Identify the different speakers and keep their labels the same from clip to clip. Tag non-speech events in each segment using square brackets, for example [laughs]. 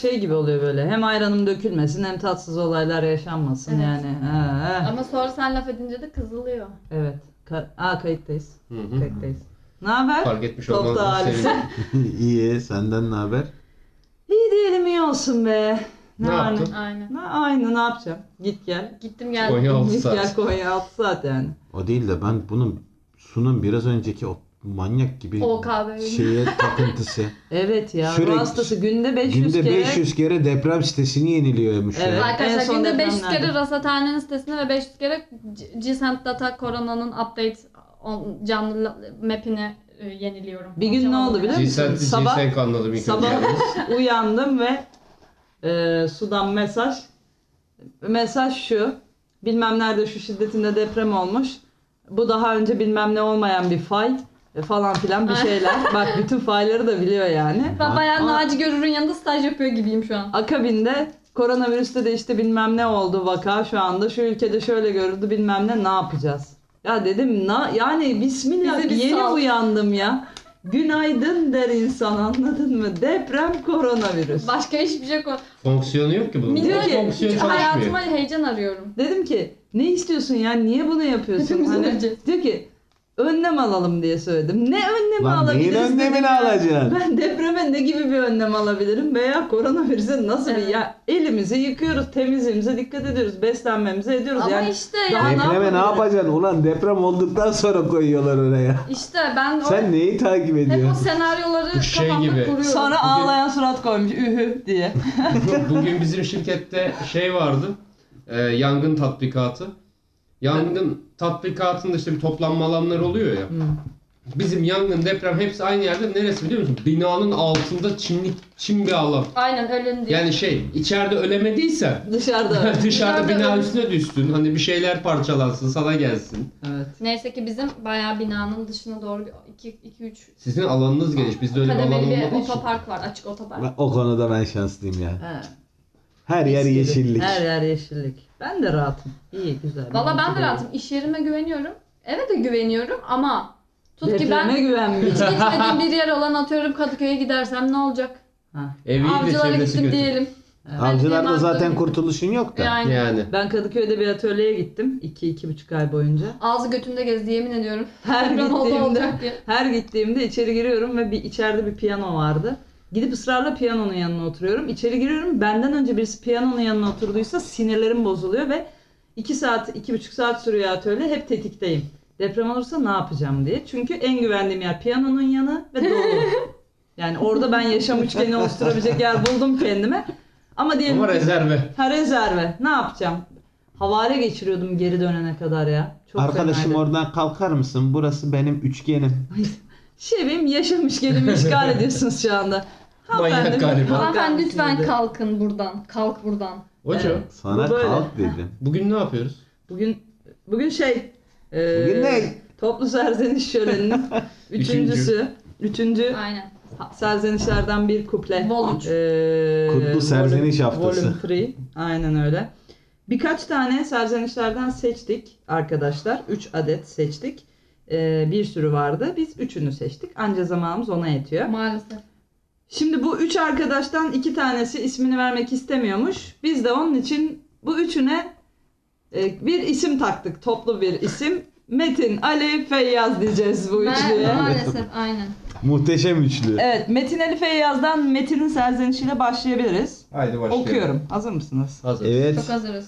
Speaker 1: şey gibi oluyor böyle. Hem ayranım dökülmesin hem tatsız olaylar yaşanmasın
Speaker 2: Evet.
Speaker 1: yani. Ha, ha.
Speaker 2: Ama sonra sen laf edince de kızılıyor.
Speaker 1: Evet. Ka- Aa kayıttayız.
Speaker 3: Hı hı.
Speaker 1: Kayıttayız. Ne haber?
Speaker 3: Fark etmiş
Speaker 1: Top da
Speaker 3: olmanızı
Speaker 1: halisi.
Speaker 3: sevindim.
Speaker 4: İyi senden ne haber?
Speaker 1: İyi diyelim iyi olsun be.
Speaker 3: Ne
Speaker 1: var
Speaker 3: yaptın?
Speaker 2: Aynen.
Speaker 1: Ne, aynı ne yapacağım? Git gel.
Speaker 2: Gittim geldim.
Speaker 3: Konya altı
Speaker 1: Git gel
Speaker 3: saat.
Speaker 1: Konya 6 saat yani.
Speaker 4: O değil de ben bunun sunun biraz önceki o manyak gibi
Speaker 2: O kahve.
Speaker 1: [laughs]
Speaker 4: şeye takıntısı.
Speaker 1: Evet ya.
Speaker 4: Sürekli-
Speaker 1: Bu hastası günde 500
Speaker 4: Günde
Speaker 1: kere.
Speaker 4: 500 kere deprem sitesini yeniliyormuş
Speaker 1: Evet.
Speaker 4: ya.
Speaker 1: En son
Speaker 2: Arkadaşlar günde 500
Speaker 1: depremlerde.
Speaker 2: kere rasathanenin sitesine ve 500 kere G- GSAM Data Korona'nın update on- canlı la- map'ini e, yeniliyorum.
Speaker 1: Bir gün ne oldu biliyor musun?
Speaker 3: Cinsel,
Speaker 1: Sabah-
Speaker 3: cinsel kanladım ilk önce.
Speaker 1: Sabah [laughs] uyandım ve e, sudan mesaj. Mesaj şu. Bilmem nerede şu şiddetinde deprem olmuş. Bu daha önce bilmem ne olmayan bir fay e, falan filan bir
Speaker 2: [laughs]
Speaker 1: şeyler. Bak bütün fayları da biliyor yani.
Speaker 2: Ben bayağı
Speaker 1: Aa.
Speaker 2: Naci Görür'ün yanında staj yapıyor gibiyim şu an.
Speaker 1: Akabinde koronavirüste de işte bilmem ne oldu vaka şu anda şu ülkede şöyle görüldü bilmem ne ne yapacağız? Ya dedim na yani bismillah
Speaker 2: Bizi bir
Speaker 1: yeni
Speaker 2: sal.
Speaker 1: uyandım ya. Günaydın der insan anladın mı? Deprem koronavirüs.
Speaker 2: Başka hiçbir şey yok.
Speaker 3: Fonksiyonu yok ki bunun.
Speaker 1: Diyor
Speaker 2: Milyon
Speaker 1: ki,
Speaker 3: Fonksiyon çalışmıyor.
Speaker 2: hayatıma heyecan arıyorum.
Speaker 1: Dedim ki ne istiyorsun ya niye bunu yapıyorsun?
Speaker 2: Hepimiz
Speaker 1: Hani,
Speaker 2: öleceğiz.
Speaker 1: diyor ki önlem alalım diye söyledim. Ne önlemi
Speaker 4: Lan neyin
Speaker 1: alabiliriz? dedim
Speaker 4: önlemini
Speaker 1: ya.
Speaker 4: alacaksın?
Speaker 1: Ben depreme ne gibi bir önlem alabilirim veya koronavirüse nasıl bir
Speaker 2: Evet.
Speaker 1: ya elimizi yıkıyoruz, temizliğimize dikkat ediyoruz, beslenmemize ediyoruz.
Speaker 2: Ama
Speaker 1: yani
Speaker 2: işte
Speaker 1: daha
Speaker 2: ya ne
Speaker 4: Depreme ne
Speaker 2: yapabilirim?
Speaker 4: yapacaksın? Ulan deprem olduktan sonra koyuyorlar oraya.
Speaker 2: İşte ben o,
Speaker 4: Sen neyi takip
Speaker 2: hep o
Speaker 4: ediyorsun?
Speaker 2: senaryoları
Speaker 3: Bu şey
Speaker 2: kafamda
Speaker 3: gibi.
Speaker 2: kuruyorum.
Speaker 1: sonra
Speaker 3: Bugün-
Speaker 1: ağlayan surat koymuş ühü diye.
Speaker 3: Bugün bizim şirkette şey vardı. E, yangın tatbikatı. Yangın tatbikatında işte bir toplanma alanları oluyor ya.
Speaker 1: Hmm.
Speaker 3: Bizim yangın, deprem hepsi aynı yerde. Neresi biliyor musun? Binanın altında çimlik, çim bir alan.
Speaker 2: Aynen ölüm diye.
Speaker 3: Yani şey, içeride ölemediysen
Speaker 1: [laughs] Dışarıda.
Speaker 3: [laughs] dışarıda
Speaker 2: Dışarıda
Speaker 3: bina
Speaker 2: öl-
Speaker 3: üstüne düşsün. Hani bir şeyler parçalansın, sana gelsin.
Speaker 1: evet.
Speaker 2: Neyse ki bizim bayağı binanın dışına doğru 2-3
Speaker 3: Sizin alanınız geniş. Bizde öyle bir alan
Speaker 2: kademeli bir
Speaker 3: olmadığı için.
Speaker 2: otopark var. Açık otopark.
Speaker 4: Ben- O konuda ben şanslıyım ya.
Speaker 1: Ha,
Speaker 4: Her yer
Speaker 1: mis gibi.
Speaker 4: yeşillik.
Speaker 1: Her yer yeşillik. Ben de rahatım. İyi güzel.
Speaker 2: Valla ben de
Speaker 1: Mutluyum.
Speaker 2: rahatım. İş yerime güveniyorum. Eve de güveniyorum ama tut ki
Speaker 1: Depreme
Speaker 2: ben [laughs] hiç
Speaker 1: güvenmiyorum.
Speaker 2: gitmediğim bir yer olan atıyorum Kadıköy'e gidersem ne olacak?
Speaker 1: Ha,
Speaker 3: Evi iyi de
Speaker 2: Avcılara
Speaker 3: çevresi
Speaker 2: gittim
Speaker 3: kötü.
Speaker 2: diyelim.
Speaker 1: evet.
Speaker 4: Avcılarda
Speaker 2: Ben-
Speaker 4: zaten kurtuluşun yok da.
Speaker 2: Yani.
Speaker 3: Yani.
Speaker 1: Ben Kadıköy'de bir atölyeye gittim. 2-2,5 ay boyunca.
Speaker 2: Ağzı götümde gezdi yemin ediyorum.
Speaker 1: Her
Speaker 2: Deprem oldu
Speaker 1: gittiğimde
Speaker 2: olacak diye.
Speaker 1: Her gittiğimde içeri giriyorum ve bir içeride bir piyano vardı. Gidip ısrarla piyanonun yanına oturuyorum. İçeri giriyorum. Benden önce birisi piyanonun yanına oturduysa sinirlerim bozuluyor ve 2 saat, iki buçuk saat sürüyor atölye. Hep tetikteyim. Deprem olursa ne yapacağım diye. Çünkü en güvendiğim yer piyanonun yanı ve dolu.
Speaker 2: [laughs]
Speaker 1: yani orada ben yaşam üçgeni oluşturabilecek yer buldum kendime. Ama diyelim
Speaker 3: Ama
Speaker 1: ki
Speaker 3: rezerve.
Speaker 1: ha, rezerve. Ne yapacağım? Havale geçiriyordum geri dönene kadar ya. Çok
Speaker 4: Arkadaşım
Speaker 1: fenaydı.
Speaker 4: oradan kalkar mısın? Burası benim üçgenim.
Speaker 1: Şevim yaşamış
Speaker 4: [laughs]
Speaker 1: gelimi işgal ediyorsunuz şu anda.
Speaker 3: Manyak
Speaker 1: Hanımefendi,
Speaker 3: galiba.
Speaker 1: kalkar
Speaker 2: Hanımefendi
Speaker 1: mısınız
Speaker 2: lütfen
Speaker 1: dedi.
Speaker 2: kalkın buradan. Kalk buradan.
Speaker 3: Hocam
Speaker 1: Evet.
Speaker 4: Sana
Speaker 1: Bu böyle.
Speaker 4: kalk dedim.
Speaker 3: bugün ne yapıyoruz?
Speaker 1: Bugün bugün şey e,
Speaker 4: Bugün ne?
Speaker 1: toplu serzeniş
Speaker 4: [laughs]
Speaker 1: şöleninin üçüncüsü. Üçüncü
Speaker 2: Aynen.
Speaker 1: serzenişlerden bir kuple.
Speaker 2: Vol üç.
Speaker 1: E,
Speaker 4: Kutlu
Speaker 1: volüm-
Speaker 4: serzeniş haftası.
Speaker 1: volüm three. Aynen öyle. Birkaç tane serzenişlerden seçtik arkadaşlar. Üç adet seçtik. E, bir sürü vardı. Biz üçünü seçtik. Anca zamanımız ona yetiyor.
Speaker 2: Maalesef.
Speaker 1: Şimdi bu üç arkadaştan iki tanesi ismini vermek istemiyormuş. Biz de onun için bu üçüne e, bir isim taktık. Toplu bir isim. Metin, Ali, Feyyaz diyeceğiz bu üçlüye.
Speaker 2: Ma- maalesef aynen.
Speaker 4: Muhteşem üçlü.
Speaker 1: Evet, Metin Ali Feyyaz'dan Metin'in serzenişiyle başlayabiliriz.
Speaker 3: Haydi başlayalım.
Speaker 1: Okuyorum. Hazır mısınız?
Speaker 3: Hazır.
Speaker 2: Çok
Speaker 4: Evet.
Speaker 2: hazırız.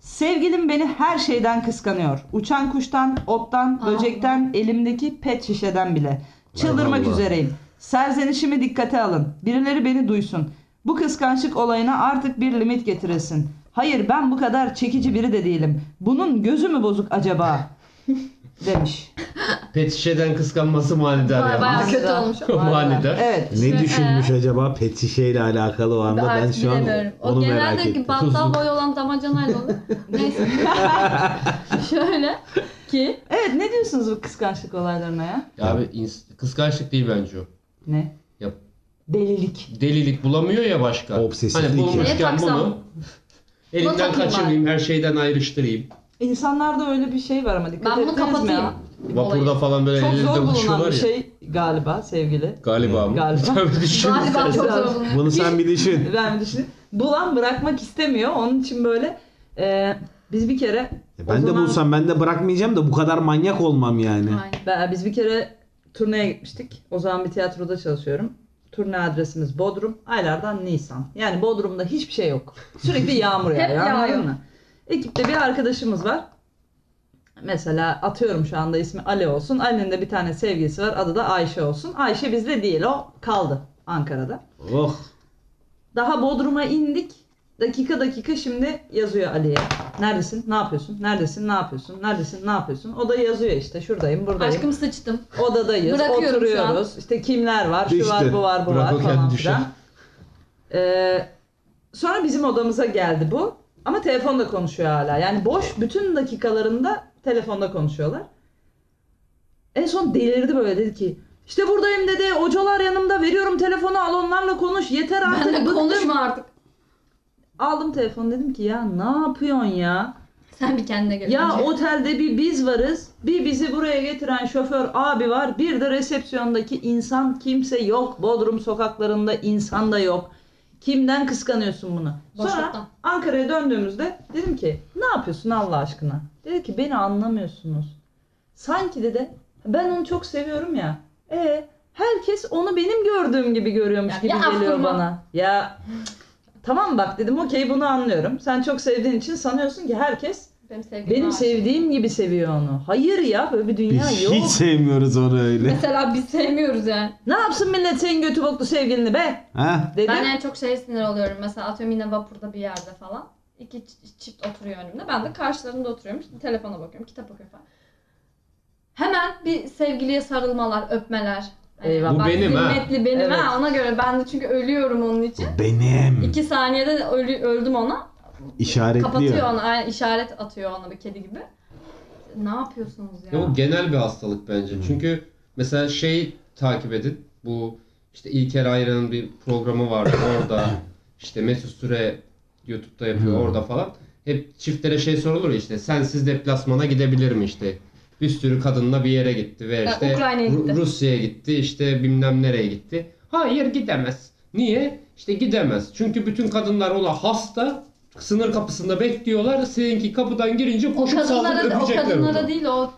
Speaker 1: Sevgilim beni her şeyden kıskanıyor. Uçan kuştan, ottan,
Speaker 2: Aa.
Speaker 1: böcekten, elimdeki pet şişeden bile. Çıldırmak
Speaker 4: Allah.
Speaker 1: üzereyim. Serzenişimi dikkate alın. Birileri beni duysun. Bu kıskançlık olayına artık bir limit getiresin. Hayır ben bu kadar çekici biri de değilim. Bunun gözü mü bozuk
Speaker 2: [laughs]
Speaker 1: acaba? Demiş.
Speaker 3: Pet şişeden kıskanması manidar
Speaker 2: Baya
Speaker 3: ya.
Speaker 2: baya
Speaker 1: Aslında.
Speaker 2: kötü olmuş.
Speaker 3: Manidar.
Speaker 1: Evet.
Speaker 4: Ne
Speaker 2: Ee?
Speaker 4: düşünmüş acaba pet ile alakalı o anda ben
Speaker 2: Artık
Speaker 4: şu an
Speaker 2: bilemiyorum. O
Speaker 4: onu merak
Speaker 2: genelde
Speaker 4: ettim.
Speaker 2: ki
Speaker 4: [laughs]
Speaker 2: battal boy olan damacanayla olur. Neyse. Şöyle ki
Speaker 1: Evet ne diyorsunuz bu kıskançlık olaylarına ya?
Speaker 3: Ya abi ins- kıskançlık değil bence o.
Speaker 1: Ne?
Speaker 3: Yap.
Speaker 1: Delilik.
Speaker 3: Delilik bulamıyor ya başka.
Speaker 4: Obsesiflik
Speaker 3: Hani
Speaker 4: ya.
Speaker 3: bulmuşken
Speaker 2: Neye taksam?
Speaker 3: bunu
Speaker 2: Buna
Speaker 3: elinden
Speaker 2: takayım
Speaker 3: kaçırmayayım, her şeyden ayrıştırayım.
Speaker 1: İnsanlarda öyle bir şey var ama dikkat
Speaker 2: Ben bunu
Speaker 1: ettiniz mi ya?
Speaker 2: kapatayım.
Speaker 3: Vapurda falan böyle
Speaker 1: Çok
Speaker 3: ellerinde
Speaker 1: zor bulunan
Speaker 3: uçuyorlar
Speaker 1: bir
Speaker 3: ya.
Speaker 1: şey galiba sevgili.
Speaker 3: Galiba mı?
Speaker 1: Galiba.
Speaker 3: [laughs] Tabii düşün.
Speaker 2: Galiba çok zor bulunuyor.
Speaker 4: Bunu sen bir düşün.
Speaker 2: [laughs]
Speaker 1: Ben düşünün. Bulan bırakmak istemiyor. Onun için böyle e, biz bir kere
Speaker 4: E
Speaker 1: O
Speaker 4: Ben de
Speaker 1: zaman-
Speaker 4: bulsam ben de bırakmayacağım da bu kadar manyak olmam yani.
Speaker 2: Aynen.
Speaker 1: Ben- Biz bir kere turneye gitmiştik. O zaman bir tiyatroda çalışıyorum. Turne adresimiz Bodrum. Aylardan Nisan. Yani Bodrum'da hiçbir şey yok. Sürekli yağmur
Speaker 2: [laughs] Hep
Speaker 1: yağıyor. anladın
Speaker 2: yağıyor.
Speaker 1: mı? Ekipte bir arkadaşımız var. Mesela atıyorum şu anda ismi Ali olsun. Ali'nin de bir tane sevgilisi var. Adı da Ayşe olsun. Ayşe bizde değil. O kaldı Ankara'da.
Speaker 4: Oh.
Speaker 1: Daha Bodrum'a indik. Dakika dakika şimdi yazıyor Ali'ye. Neredesin? Ne yapıyorsun? Neredesin? Ne yapıyorsun? Neredesin? Ne yapıyorsun? O da yazıyor işte. Şuradayım, buradayım
Speaker 2: Aşkım sıçtım.
Speaker 1: odadayız,
Speaker 2: Bırakıyorum şu
Speaker 1: oturuyoruz. İşte kimler var, şu
Speaker 4: İşte,
Speaker 1: var, bu var, bu
Speaker 3: bırak o
Speaker 1: var falan
Speaker 3: kendi
Speaker 1: filan. Ee, sonra bizim odamıza geldi bu. Ama telefonda konuşuyor hala. Yani boş bütün dakikalarında telefonda konuşuyorlar. En son delirdi böyle dedi ki işte buradayım dedi. Hocalar yanımda veriyorum telefonu al onlarla konuş. Yeter artık.
Speaker 2: Benle
Speaker 1: bıktım."
Speaker 2: [laughs] konuşma artık.
Speaker 1: Aldım telefonu dedim ki ya ne yapıyorsun ya?
Speaker 2: Sen bir kendine gel.
Speaker 1: Ya
Speaker 2: önce.
Speaker 1: otelde bir biz varız, bir bizi buraya getiren şoför abi var, bir de resepsiyondaki insan kimse yok. Bodrum sokaklarında insan da yok. Kimden kıskanıyorsun bunu? Sonra
Speaker 2: Boşluktan.
Speaker 1: Ankara'ya döndüğümüzde dedim ki ne yapıyorsun Allah aşkına? Dedi ki beni anlamıyorsunuz. Sanki dedi ben onu çok seviyorum ya. E herkes onu benim gördüğüm gibi görüyormuş
Speaker 2: Ya-
Speaker 1: gibi
Speaker 2: ya
Speaker 1: geliyor
Speaker 2: aklına.
Speaker 1: bana. Ya tamam bak dedim okey bunu anlıyorum. Sen çok sevdiğin için sanıyorsun ki herkes
Speaker 2: Benim sevgilim
Speaker 1: benim
Speaker 2: var.
Speaker 1: sevdiğim gibi seviyor onu. Hayır ya böyle bir dünya
Speaker 4: Biz
Speaker 1: yok.
Speaker 4: hiç sevmiyoruz onu öyle.
Speaker 2: [laughs] Mesela biz sevmiyoruz yani.
Speaker 1: Ne yapsın millet senin götü boklu sevgilini be
Speaker 4: ha?
Speaker 1: dedim.
Speaker 2: Ben en çok şeye sinir oluyorum. Mesela atıyorum yine vapurda bir yerde falan. İki ç- çift oturuyor önümde. Ben de karşılarında oturuyorum. İşte telefona bakıyorum, kitap okuyorum falan. Hemen bir sevgiliye sarılmalar, öpmeler.
Speaker 1: Eyvah. Bu
Speaker 2: bak,
Speaker 3: benim ha.
Speaker 2: Zimmetli benim
Speaker 1: Evet.
Speaker 2: ha. Ona göre ben de çünkü ölüyorum onun için.
Speaker 4: Benim.
Speaker 2: İki saniyede de ölü, öldüm ona. Kapatıyor
Speaker 4: İşaretliyor.
Speaker 2: onu. aynen işaret atıyor ona bir kedi gibi. Ne yapıyorsunuz ya?
Speaker 3: Ya bu genel bir hastalık bence. Çünkü mesela şey takip edin. Bu işte İlker Ayran'ın bir programı vardı orada. işte Mesut Süre YouTube'da yapıyor
Speaker 4: Hı.
Speaker 3: orada falan. Hep çiftlere şey sorulur ya işte sensiz deplasmana gidebilir mi işte. Bir sürü kadınla bir yere gitti ve
Speaker 2: Ya
Speaker 3: işte
Speaker 2: Ukrayna'ya
Speaker 3: Ru-
Speaker 2: gitti.
Speaker 3: Rusya'ya gitti işte bilmem nereye gitti. Hayır gidemez. Niye? İşte gidemez. Çünkü bütün kadınlar ola hasta sınır kapısında bekliyorlar. Seninki kapıdan girince
Speaker 2: O
Speaker 3: koşup sallayıp
Speaker 2: kadınlara, o
Speaker 3: öpecekler. onu.
Speaker 2: kadınlara değil o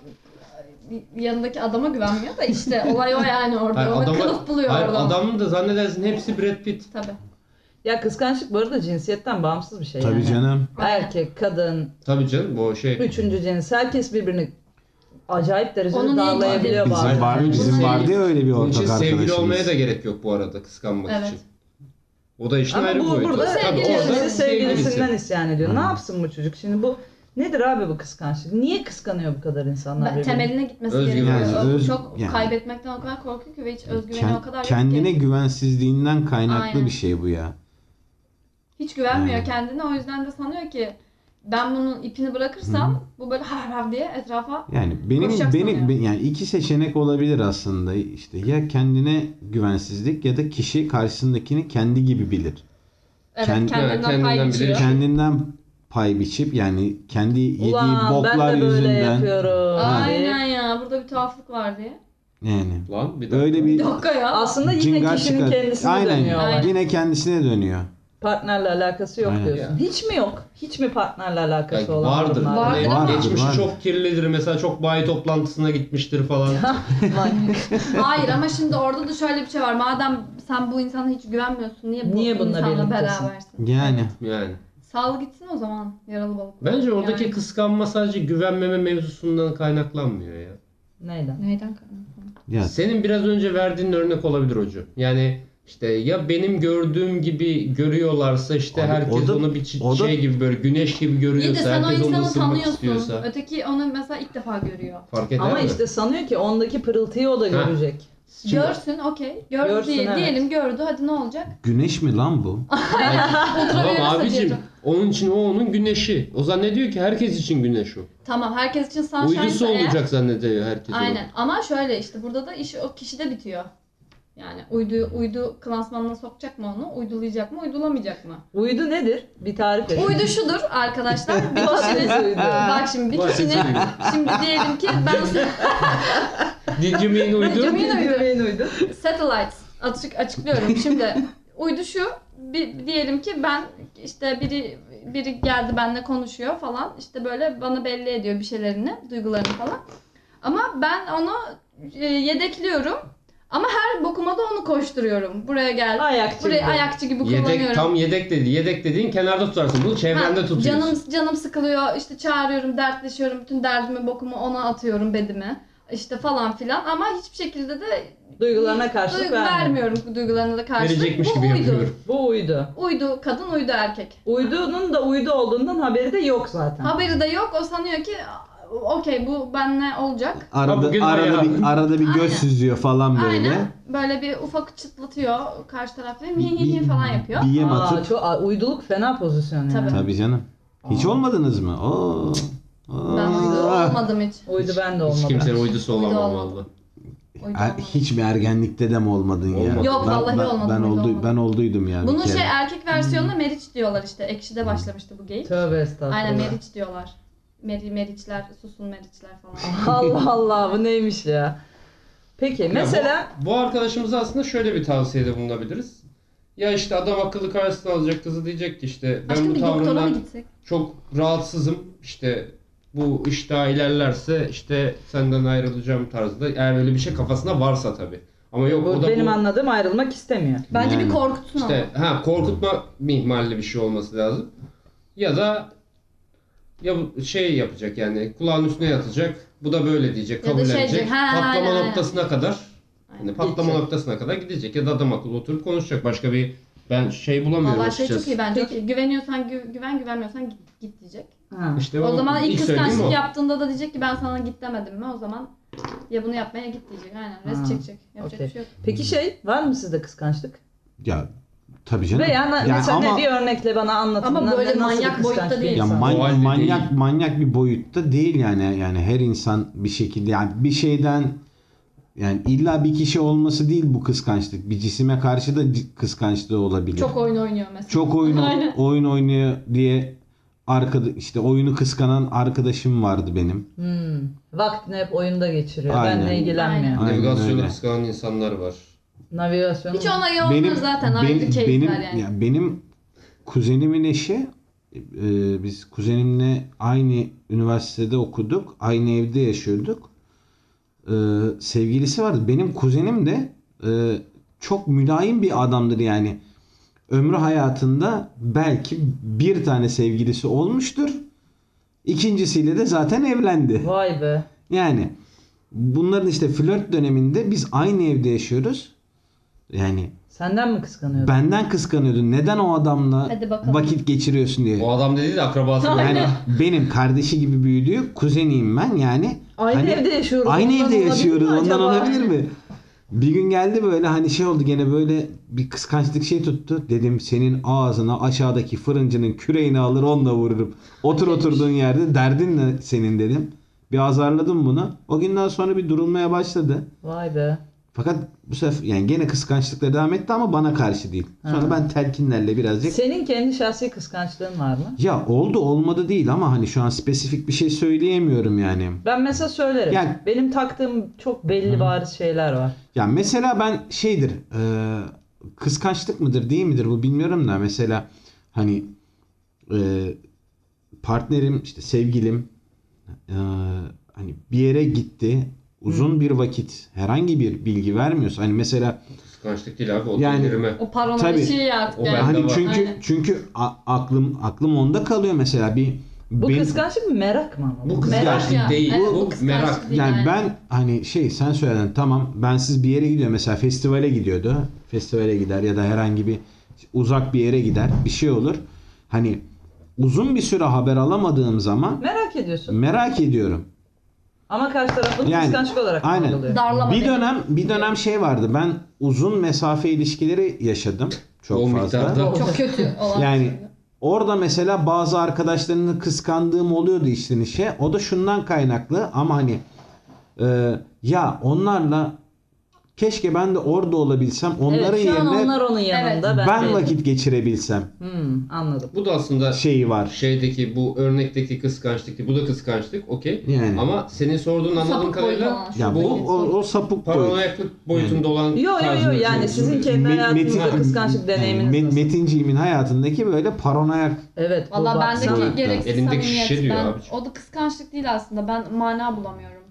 Speaker 2: yanındaki adama güvenmiyor da işte olay o yani orada.
Speaker 3: Hayır,
Speaker 2: o
Speaker 3: adama-
Speaker 2: kılıf buluyor
Speaker 3: hayır,
Speaker 2: orada.
Speaker 3: adamın da zannedersin hepsi Brad Pitt.
Speaker 2: Tabii.
Speaker 1: Ya kıskançlık bu arada cinsiyetten bağımsız bir şey
Speaker 4: Tabii
Speaker 1: yani.
Speaker 4: canım.
Speaker 1: Erkek, kadın,
Speaker 3: Tabii canım bu şey.
Speaker 1: üçüncü cins herkes birbirini acayip derecede
Speaker 2: Onun iyi şey.
Speaker 1: darlayabiliyor
Speaker 4: Bizim
Speaker 1: bazen.
Speaker 4: var, bizim
Speaker 2: Bunun-
Speaker 4: vardı ya öyle bir
Speaker 3: Bunun
Speaker 4: ortak
Speaker 3: için sevgili olmaya
Speaker 4: arkadaşımız.
Speaker 3: da gerek yok bu arada kıskanmak
Speaker 2: Evet.
Speaker 3: için. O da işin
Speaker 1: Ama
Speaker 3: ayrı
Speaker 1: bu
Speaker 3: boyutu.
Speaker 1: burada
Speaker 3: Tabii
Speaker 2: Sevgilisi,
Speaker 3: orada
Speaker 1: sevgilisi sevgilisinden
Speaker 3: sevgilisi.
Speaker 1: isyan ediyor. Ne
Speaker 4: Hı.
Speaker 1: yapsın bu çocuk? Şimdi bu nedir abi bu kıskançlık? Niye kıskanıyor bu kadar insanlar
Speaker 2: Ben-
Speaker 1: birbirini?
Speaker 2: Temeline gitmesi
Speaker 3: Özgüven.
Speaker 2: gerekiyor.
Speaker 4: Yani
Speaker 2: O
Speaker 4: öz-
Speaker 2: çok
Speaker 4: yani.
Speaker 2: kaybetmekten o kadar korkuyor ki ve hiç özgüveni
Speaker 4: Ken-
Speaker 2: o kadar yok
Speaker 4: kendine
Speaker 2: ki.
Speaker 4: güvensizliğinden kaynaklı
Speaker 2: Aynen.
Speaker 4: bir şey bu ya.
Speaker 2: Hiç güvenmiyor
Speaker 4: Yani.
Speaker 2: kendine o yüzden de sanıyor ki ben bunun ipini bırakırsam bu böyle hav hav diye etrafa
Speaker 4: Yani benim
Speaker 2: Konuşacaksın
Speaker 4: benim
Speaker 2: yani.
Speaker 4: be- yani iki seçenek olabilir aslında. İşte ya kendine güvensizlik ya da kişi karşısındakini kendi gibi bilir.
Speaker 2: evet,
Speaker 4: Kendi-
Speaker 2: kendinden
Speaker 3: kendinden
Speaker 2: pay
Speaker 3: bile şey
Speaker 2: biçiyor.
Speaker 4: Kendinden pay biçip yani kendi yediği
Speaker 1: Ulan ben
Speaker 4: boklar
Speaker 1: de böyle
Speaker 4: yüzünden
Speaker 1: yapıyorum.
Speaker 2: Aynen ya burada bir tuhaflık var diye.
Speaker 4: yani
Speaker 3: Lan bir dakika.
Speaker 4: öyle bir
Speaker 2: Bir dakika ya.
Speaker 1: Aslında yine
Speaker 4: cingar
Speaker 1: kişinin
Speaker 4: çıkar.
Speaker 1: kendisine
Speaker 4: Aynen.
Speaker 1: dönüyor olay.
Speaker 2: Aynen.
Speaker 4: Yine kendisine dönüyor.
Speaker 1: Partnerle alakası yok
Speaker 4: Aynen.
Speaker 1: diyorsun. Hiç mi yok? Hiç mi partnerle alakası
Speaker 3: Belki
Speaker 1: olan
Speaker 3: vardır.
Speaker 1: durumlar var?
Speaker 2: Vardır
Speaker 3: Hani
Speaker 2: ama-
Speaker 3: [laughs] Geçmişi
Speaker 4: Vardır,
Speaker 3: çok kirlidir mesela çok bayi toplantısına
Speaker 2: [laughs]
Speaker 3: gitmiştir falan.
Speaker 1: Manyak.
Speaker 2: Hayır ama şimdi orada da şöyle bir şey var. Madem sen bu insana hiç güvenmiyorsun niye bu
Speaker 1: Niye bununla
Speaker 2: insanla
Speaker 1: birliktesin?
Speaker 2: berabersin?
Speaker 4: Yani
Speaker 3: yani.
Speaker 2: Sal gitsin o zaman yaralı balık.
Speaker 3: Bence oradaki
Speaker 2: Yani.
Speaker 3: kıskanma sadece güvenmeme mevzusundan kaynaklanmıyor ya.
Speaker 1: Neyden?
Speaker 2: Neyden kaynaklı?
Speaker 4: ya
Speaker 3: Senin biraz önce verdiğin örnek olabilir hocu. Yani işte ya benim gördüğüm gibi görüyorlarsa işte
Speaker 4: Abi
Speaker 3: herkes
Speaker 4: o da-
Speaker 3: onu bir çi-
Speaker 4: o da-
Speaker 3: şey gibi böyle güneş gibi
Speaker 2: İyi de
Speaker 3: görüyorsa
Speaker 2: sen o
Speaker 3: herkes onu
Speaker 2: insanı
Speaker 3: ısırmak
Speaker 2: tanıyorsun.
Speaker 3: istiyorsa
Speaker 2: Öteki onu mesela ilk defa görüyor.
Speaker 3: fark eder
Speaker 1: Ama
Speaker 3: mi?
Speaker 1: işte sanıyor ki ondaki pırıltıyı o da görecek.
Speaker 3: Şimdi-
Speaker 2: Görsün okey. Gördü
Speaker 1: Görsün,
Speaker 2: diye,
Speaker 1: evet.
Speaker 2: diyelim gördü hadi ne olacak?
Speaker 4: güneş mi lan bu?
Speaker 3: Tamam
Speaker 2: Ultraviyole
Speaker 3: abicim
Speaker 2: saçıyor.
Speaker 3: onun için o onun güneşi. O zannediyor ki herkes için güneş o.
Speaker 2: Tamam herkes için sunshine
Speaker 3: Uydusu olacak zannediyor herkes onu.
Speaker 2: Aynen ama şöyle işte burada da iş o kişide bitiyor. Yani uydu, uydu klasmanına sokacak mı onu? Uydulayacak mı? Uydulamayacak mı?
Speaker 1: Uydu nedir? Bir tarif et. [laughs]
Speaker 2: Uydu şudur arkadaşlar.
Speaker 3: [laughs]
Speaker 2: Bir
Speaker 1: Basit
Speaker 2: kişinin
Speaker 1: uydu.
Speaker 2: Bak şimdi bir
Speaker 3: Basit
Speaker 2: kişinin
Speaker 3: uydu.
Speaker 2: şimdi diyelim ki ben
Speaker 3: Dincimin uydu.
Speaker 2: Dincimin- Uydu neydi?
Speaker 1: Göbeğin uydu.
Speaker 2: satellites açık
Speaker 3: [laughs]
Speaker 2: açıklıyorum. Şimdi uydu şu bir, diyelim ki ben işte biri biri geldi benimle konuşuyor falan işte böyle bana belli ediyor bir şeylerini duygularını falan. Ama ben onu e, yedekliyorum. Ama her bokuma da onu koşturuyorum. Buraya gel.
Speaker 1: Ayakçı.
Speaker 2: Buraya
Speaker 1: gibi.
Speaker 2: ayakçı gibi
Speaker 3: Yedek
Speaker 2: kullanıyorum.
Speaker 3: tam yedek dedi. Yedek dediğin kenarda tutarsın bunu çevrende
Speaker 2: Ha,
Speaker 3: tutuyorsun.
Speaker 2: Canım canım sıkılıyor. işte çağırıyorum, dertleşiyorum. Bütün derdimi, bokumu ona atıyorum bedimi. İşte falan filan ama hiçbir şekilde de
Speaker 1: Duygularına karşılık
Speaker 2: duygu
Speaker 1: vermiyor.
Speaker 2: vermiyorum bu duygularına da karşılık.
Speaker 3: Verecekmiş
Speaker 2: Bu
Speaker 3: gibi
Speaker 2: uydu.
Speaker 3: yapıyorum.
Speaker 1: Bu uydu.
Speaker 2: Uydu kadın, uydu erkek.
Speaker 1: Uydunun da uydu olduğundan haberi de yok zaten.
Speaker 2: Haberi de yok. O sanıyor ki okey bu benle olacak.
Speaker 4: Arada,
Speaker 3: bugün
Speaker 4: arada,
Speaker 3: bayağı-
Speaker 4: bir, arada bir göz
Speaker 2: Aynen.
Speaker 4: süzüyor falan böyle.
Speaker 2: Aynen. Böyle bir ufak çıtlatıyor karşı tarafı. Hi
Speaker 4: Bir-
Speaker 2: hi hi
Speaker 4: bir-
Speaker 2: falan yapıyor.
Speaker 4: Bir yem
Speaker 1: Aa,
Speaker 4: atıp.
Speaker 1: çok, aa, uyduluk fena pozisyon yani.
Speaker 2: Tabii.
Speaker 4: Tabii canım. Hiç
Speaker 1: Aa.
Speaker 4: olmadınız mı? Oo. Oo.
Speaker 2: Ben uydu olmadım hiç.
Speaker 1: Uydu ben de
Speaker 3: Hiç
Speaker 1: olmadım.
Speaker 3: kimsenin uydusu
Speaker 2: Uydu
Speaker 3: olamam
Speaker 2: olmadı.
Speaker 3: valla.
Speaker 2: Uydu
Speaker 4: Er-
Speaker 2: olmadım.
Speaker 4: Hiç mi ergenlikte de mi olmadın ya?
Speaker 3: Olmadı.
Speaker 2: Yok,
Speaker 4: ben,
Speaker 2: vallahi
Speaker 4: ben,
Speaker 2: olmadım,
Speaker 4: Ben,
Speaker 2: öyle
Speaker 4: oldu,
Speaker 2: olmadım.
Speaker 4: ben olduydum yani.
Speaker 2: Bunun şey erkek versiyonuna meriç diyorlar işte. Ekşi'de başlamıştı bu geyik.
Speaker 1: Tövbe estağfurullah.
Speaker 2: Aynen meriç diyorlar. Meri, meriçler, susun meriçler falan.
Speaker 1: [laughs] Allah Allah bu neymiş ya. Peki mesela
Speaker 3: bu, bu arkadaşımıza aslında şöyle bir tavsiyede bulunabiliriz. Ya işte adam akıllı karşısına alacak kızı diyecek ki işte ben
Speaker 2: Aşkım
Speaker 3: bu
Speaker 2: bir doktora mı
Speaker 3: tavrından
Speaker 2: gitsek?
Speaker 3: çok rahatsızım. İşte bu iş daha ilerlerse işte senden ayrılacağım tarzda. Eğer öyle bir şey kafasında varsa tabii. Ama yok o
Speaker 1: bu,
Speaker 3: da
Speaker 1: benim
Speaker 3: bu
Speaker 1: anladığım ayrılmak istemiyor.
Speaker 2: Bence
Speaker 4: Yani.
Speaker 2: bir korkutsun
Speaker 3: işte ha korkutma mihmalli bir şey olması lazım. Ya da ya bu şey yapacak yani kulağın üstüne yatacak. Bu da böyle diyecek,
Speaker 2: Ya da
Speaker 3: kabul
Speaker 2: şey
Speaker 3: edecek.
Speaker 2: diyecek, ha,
Speaker 3: patlama
Speaker 2: aynen, aynen.
Speaker 3: noktasına kadar
Speaker 2: onu.
Speaker 3: yani patlama
Speaker 1: Gidecek.
Speaker 3: noktasına kadar gidecek ya da adam akıllı oturup konuşacak. Başka bir ben şey bulamıyorum
Speaker 2: Valla şey
Speaker 3: açıkçası.
Speaker 2: çok iyi bence.
Speaker 1: Peki.
Speaker 2: Okey, Güveniyorsan gü- güven, güvenmiyorsan git, git diyecek.
Speaker 1: Ha.
Speaker 3: İşte
Speaker 2: o
Speaker 3: o-
Speaker 2: zaman ilk
Speaker 3: söylediğim
Speaker 2: kıskançlık
Speaker 3: o.
Speaker 2: yaptığında da diyecek ki ben sana git demedim mi? O zaman ya bunu yapmaya git diyecek. Aynen. Res
Speaker 1: Ha,
Speaker 2: çekecek. Yapacak
Speaker 1: okey.
Speaker 2: bir şey yok.
Speaker 1: Peki şey var mı sizde kıskançlık?
Speaker 4: Ya tabii canım.
Speaker 1: Veya na-
Speaker 4: Ya
Speaker 1: mesela
Speaker 4: ama-
Speaker 1: ne bir örnekle bana anlatın.
Speaker 2: Ama
Speaker 1: Ne-
Speaker 2: böyle
Speaker 1: nasıl bir
Speaker 2: manyak
Speaker 1: kıskanç
Speaker 2: boyutta
Speaker 1: bir
Speaker 2: değil.
Speaker 4: Ya
Speaker 1: insan?
Speaker 4: man-
Speaker 3: O halde
Speaker 4: manyak
Speaker 3: değil.
Speaker 4: manyak bir boyutta değil yani yani her insan bir şekilde yani bir şeyden yani illa bir kişi olması değil bu kıskançlık. Bir cisime karşı da c- kıskançlığı olabilir.
Speaker 2: Çok oyun oynuyor mesela.
Speaker 4: Çok oyun
Speaker 2: Aynen.
Speaker 4: oyun oynuyor diye arkada işte oyunu kıskanan arkadaşım vardı benim.
Speaker 1: Hmm. Vaktini hep oyunda geçiriyor.
Speaker 4: Aynen.
Speaker 1: Benle ilgilenmiyor.
Speaker 4: Aynen.
Speaker 3: Navigasyonu
Speaker 4: öyle.
Speaker 3: kıskanan insanlar var.
Speaker 1: Navigasyonu.
Speaker 2: Hiç ona yoğunlar Şey zaten.
Speaker 4: ben-
Speaker 2: Ayrı keyifler
Speaker 4: benim,
Speaker 2: yani.
Speaker 4: ya benim kuzenimin eşi e, biz kuzenimle aynı üniversitede okuduk. Aynı evde yaşıyorduk. E, sevgilisi vardı. Benim kuzenim de e, çok mülayim bir adamdır yani. Ömrü hayatında belki bir tane sevgilisi olmuştur. İkincisiyle de zaten evlendi.
Speaker 1: Vay be.
Speaker 4: Yani bunların işte flört döneminde biz aynı evde yaşıyoruz. Yani
Speaker 1: Senden mi kıskanıyordu?
Speaker 4: Benden kıskanıyordun. Neden o adamla
Speaker 2: Hadi bakalım.
Speaker 4: vakit geçiriyorsun diye.
Speaker 3: O adam dedi de akrabası.
Speaker 4: Yani benim kardeşi gibi büyüdüğü kuzeniyim ben yani.
Speaker 1: Aynı
Speaker 4: Hani-
Speaker 1: evde yaşıyoruz.
Speaker 4: Aynı
Speaker 1: Ondan
Speaker 4: evde
Speaker 1: olabilir mi
Speaker 4: yaşıyoruz. Ondan
Speaker 1: acaba?
Speaker 4: olabilir mi? Bir gün geldi böyle hani şey oldu gene böyle bir kıskançlık şey tuttu. Dedim senin ağzına aşağıdaki fırıncının küreğini alır onunla vururum. Otur oturduğun yerde derdin ne senin dedim. Bir azarladım bunu. O günden sonra bir durulmaya başladı.
Speaker 1: Vay be.
Speaker 4: Fakat bu sefer yani gene kıskançlıkla devam etti ama bana karşı değil. Sonra
Speaker 1: Ha.
Speaker 4: ben telkinlerle birazcık
Speaker 1: Senin kendi şahsi kıskançlığın var mı?
Speaker 4: Ya oldu olmadı değil ama hani şu an spesifik bir şey söyleyemiyorum yani.
Speaker 1: Ben mesela söylerim.
Speaker 4: Yani-
Speaker 1: Benim taktığım çok belli bariz şeyler var.
Speaker 4: Ya mesela ben şeydir e, kıskançlık mıdır değil midir bu bilmiyorum da mesela hani e, partnerim işte sevgilim e, hani bir yere gitti uzun bir vakit herhangi bir bilgi vermiyorsa hani mesela
Speaker 3: Kıskançlık değil abi. O
Speaker 4: Yani-
Speaker 3: yani,
Speaker 2: O paranoya
Speaker 4: Tabii.
Speaker 2: şeyi artık
Speaker 3: O
Speaker 2: yani.
Speaker 3: bende
Speaker 4: hani
Speaker 3: var.
Speaker 4: çünkü
Speaker 2: Aynen.
Speaker 4: çünkü a- aklım aklım onda kalıyor mesela bir
Speaker 1: Bu
Speaker 4: benim-
Speaker 1: kıskançlık mı merak mı? ama?
Speaker 3: Bu
Speaker 2: Merak
Speaker 3: kıskançlık
Speaker 2: ya.
Speaker 3: değil.
Speaker 2: Evet,
Speaker 3: bu,
Speaker 2: bu kıskançlık
Speaker 3: merak.
Speaker 2: değil.
Speaker 4: Yani
Speaker 2: yani.
Speaker 4: ben hani şey sen söyledin tamam ben siz bir yere gidiyor mesela festivale gidiyordu. Festivale gider ya da herhangi bir uzak bir yere gider bir şey olur. Hani uzun bir süre haber alamadığım zaman
Speaker 1: Merak ediyorsun.
Speaker 4: merak ediyorum.
Speaker 1: Ama karşı tarafın
Speaker 4: Yani,
Speaker 1: kıskançlık olarak
Speaker 4: aynen.
Speaker 1: algılıyor.
Speaker 2: Darlama
Speaker 4: Bir
Speaker 2: beni.
Speaker 4: dönem bir dönem şey vardı ben uzun mesafe ilişkileri yaşadım çok
Speaker 3: Bol
Speaker 4: fazla.
Speaker 3: miktarda.
Speaker 2: Çok kötü olan
Speaker 4: Yani
Speaker 2: şey.
Speaker 4: orada mesela bazı arkadaşlarını kıskandığım oluyordu işten işe. O da şundan kaynaklı ama hani e, ya onlarla Keşke ben de orada olabilsem. Onların
Speaker 1: evet, şu an
Speaker 4: yerine
Speaker 1: onlar onun yanında.
Speaker 4: ben,
Speaker 1: Ben, değilim.
Speaker 4: vakit geçirebilsem
Speaker 1: Hmm, anladım.
Speaker 3: Bu da aslında
Speaker 4: şeyi var.
Speaker 3: şeydeki bu örnekteki kıskançlıktı. Bu da kıskançlık. Okey.
Speaker 4: Yani.
Speaker 3: Ama senin sorduğun anladığım
Speaker 2: Sapık boyutu
Speaker 3: kadarıyla
Speaker 2: olan şu
Speaker 4: Ya bu
Speaker 3: bu
Speaker 4: o, o sapık boyut.
Speaker 3: paranoyaklık boyutunda olan
Speaker 1: Yo yo yo
Speaker 3: tarzında
Speaker 1: yani
Speaker 3: düşünüyorum.
Speaker 1: sizin kendi
Speaker 4: Me-
Speaker 1: hayatınızda
Speaker 4: Metin-
Speaker 1: kıskançlık deneyiminiz
Speaker 4: Me-
Speaker 1: nasıl?
Speaker 4: Metin Cim'in hayatındaki böyle paranoyak
Speaker 1: Evet. bu
Speaker 2: Valla
Speaker 1: bak-
Speaker 4: Sana-
Speaker 2: bendeki gereksiz
Speaker 3: Elindeki
Speaker 2: samimiyet.
Speaker 3: şişe diyor
Speaker 2: ben,
Speaker 3: abi.
Speaker 2: O da kıskançlık değil aslında. Ben mana bulamıyorum.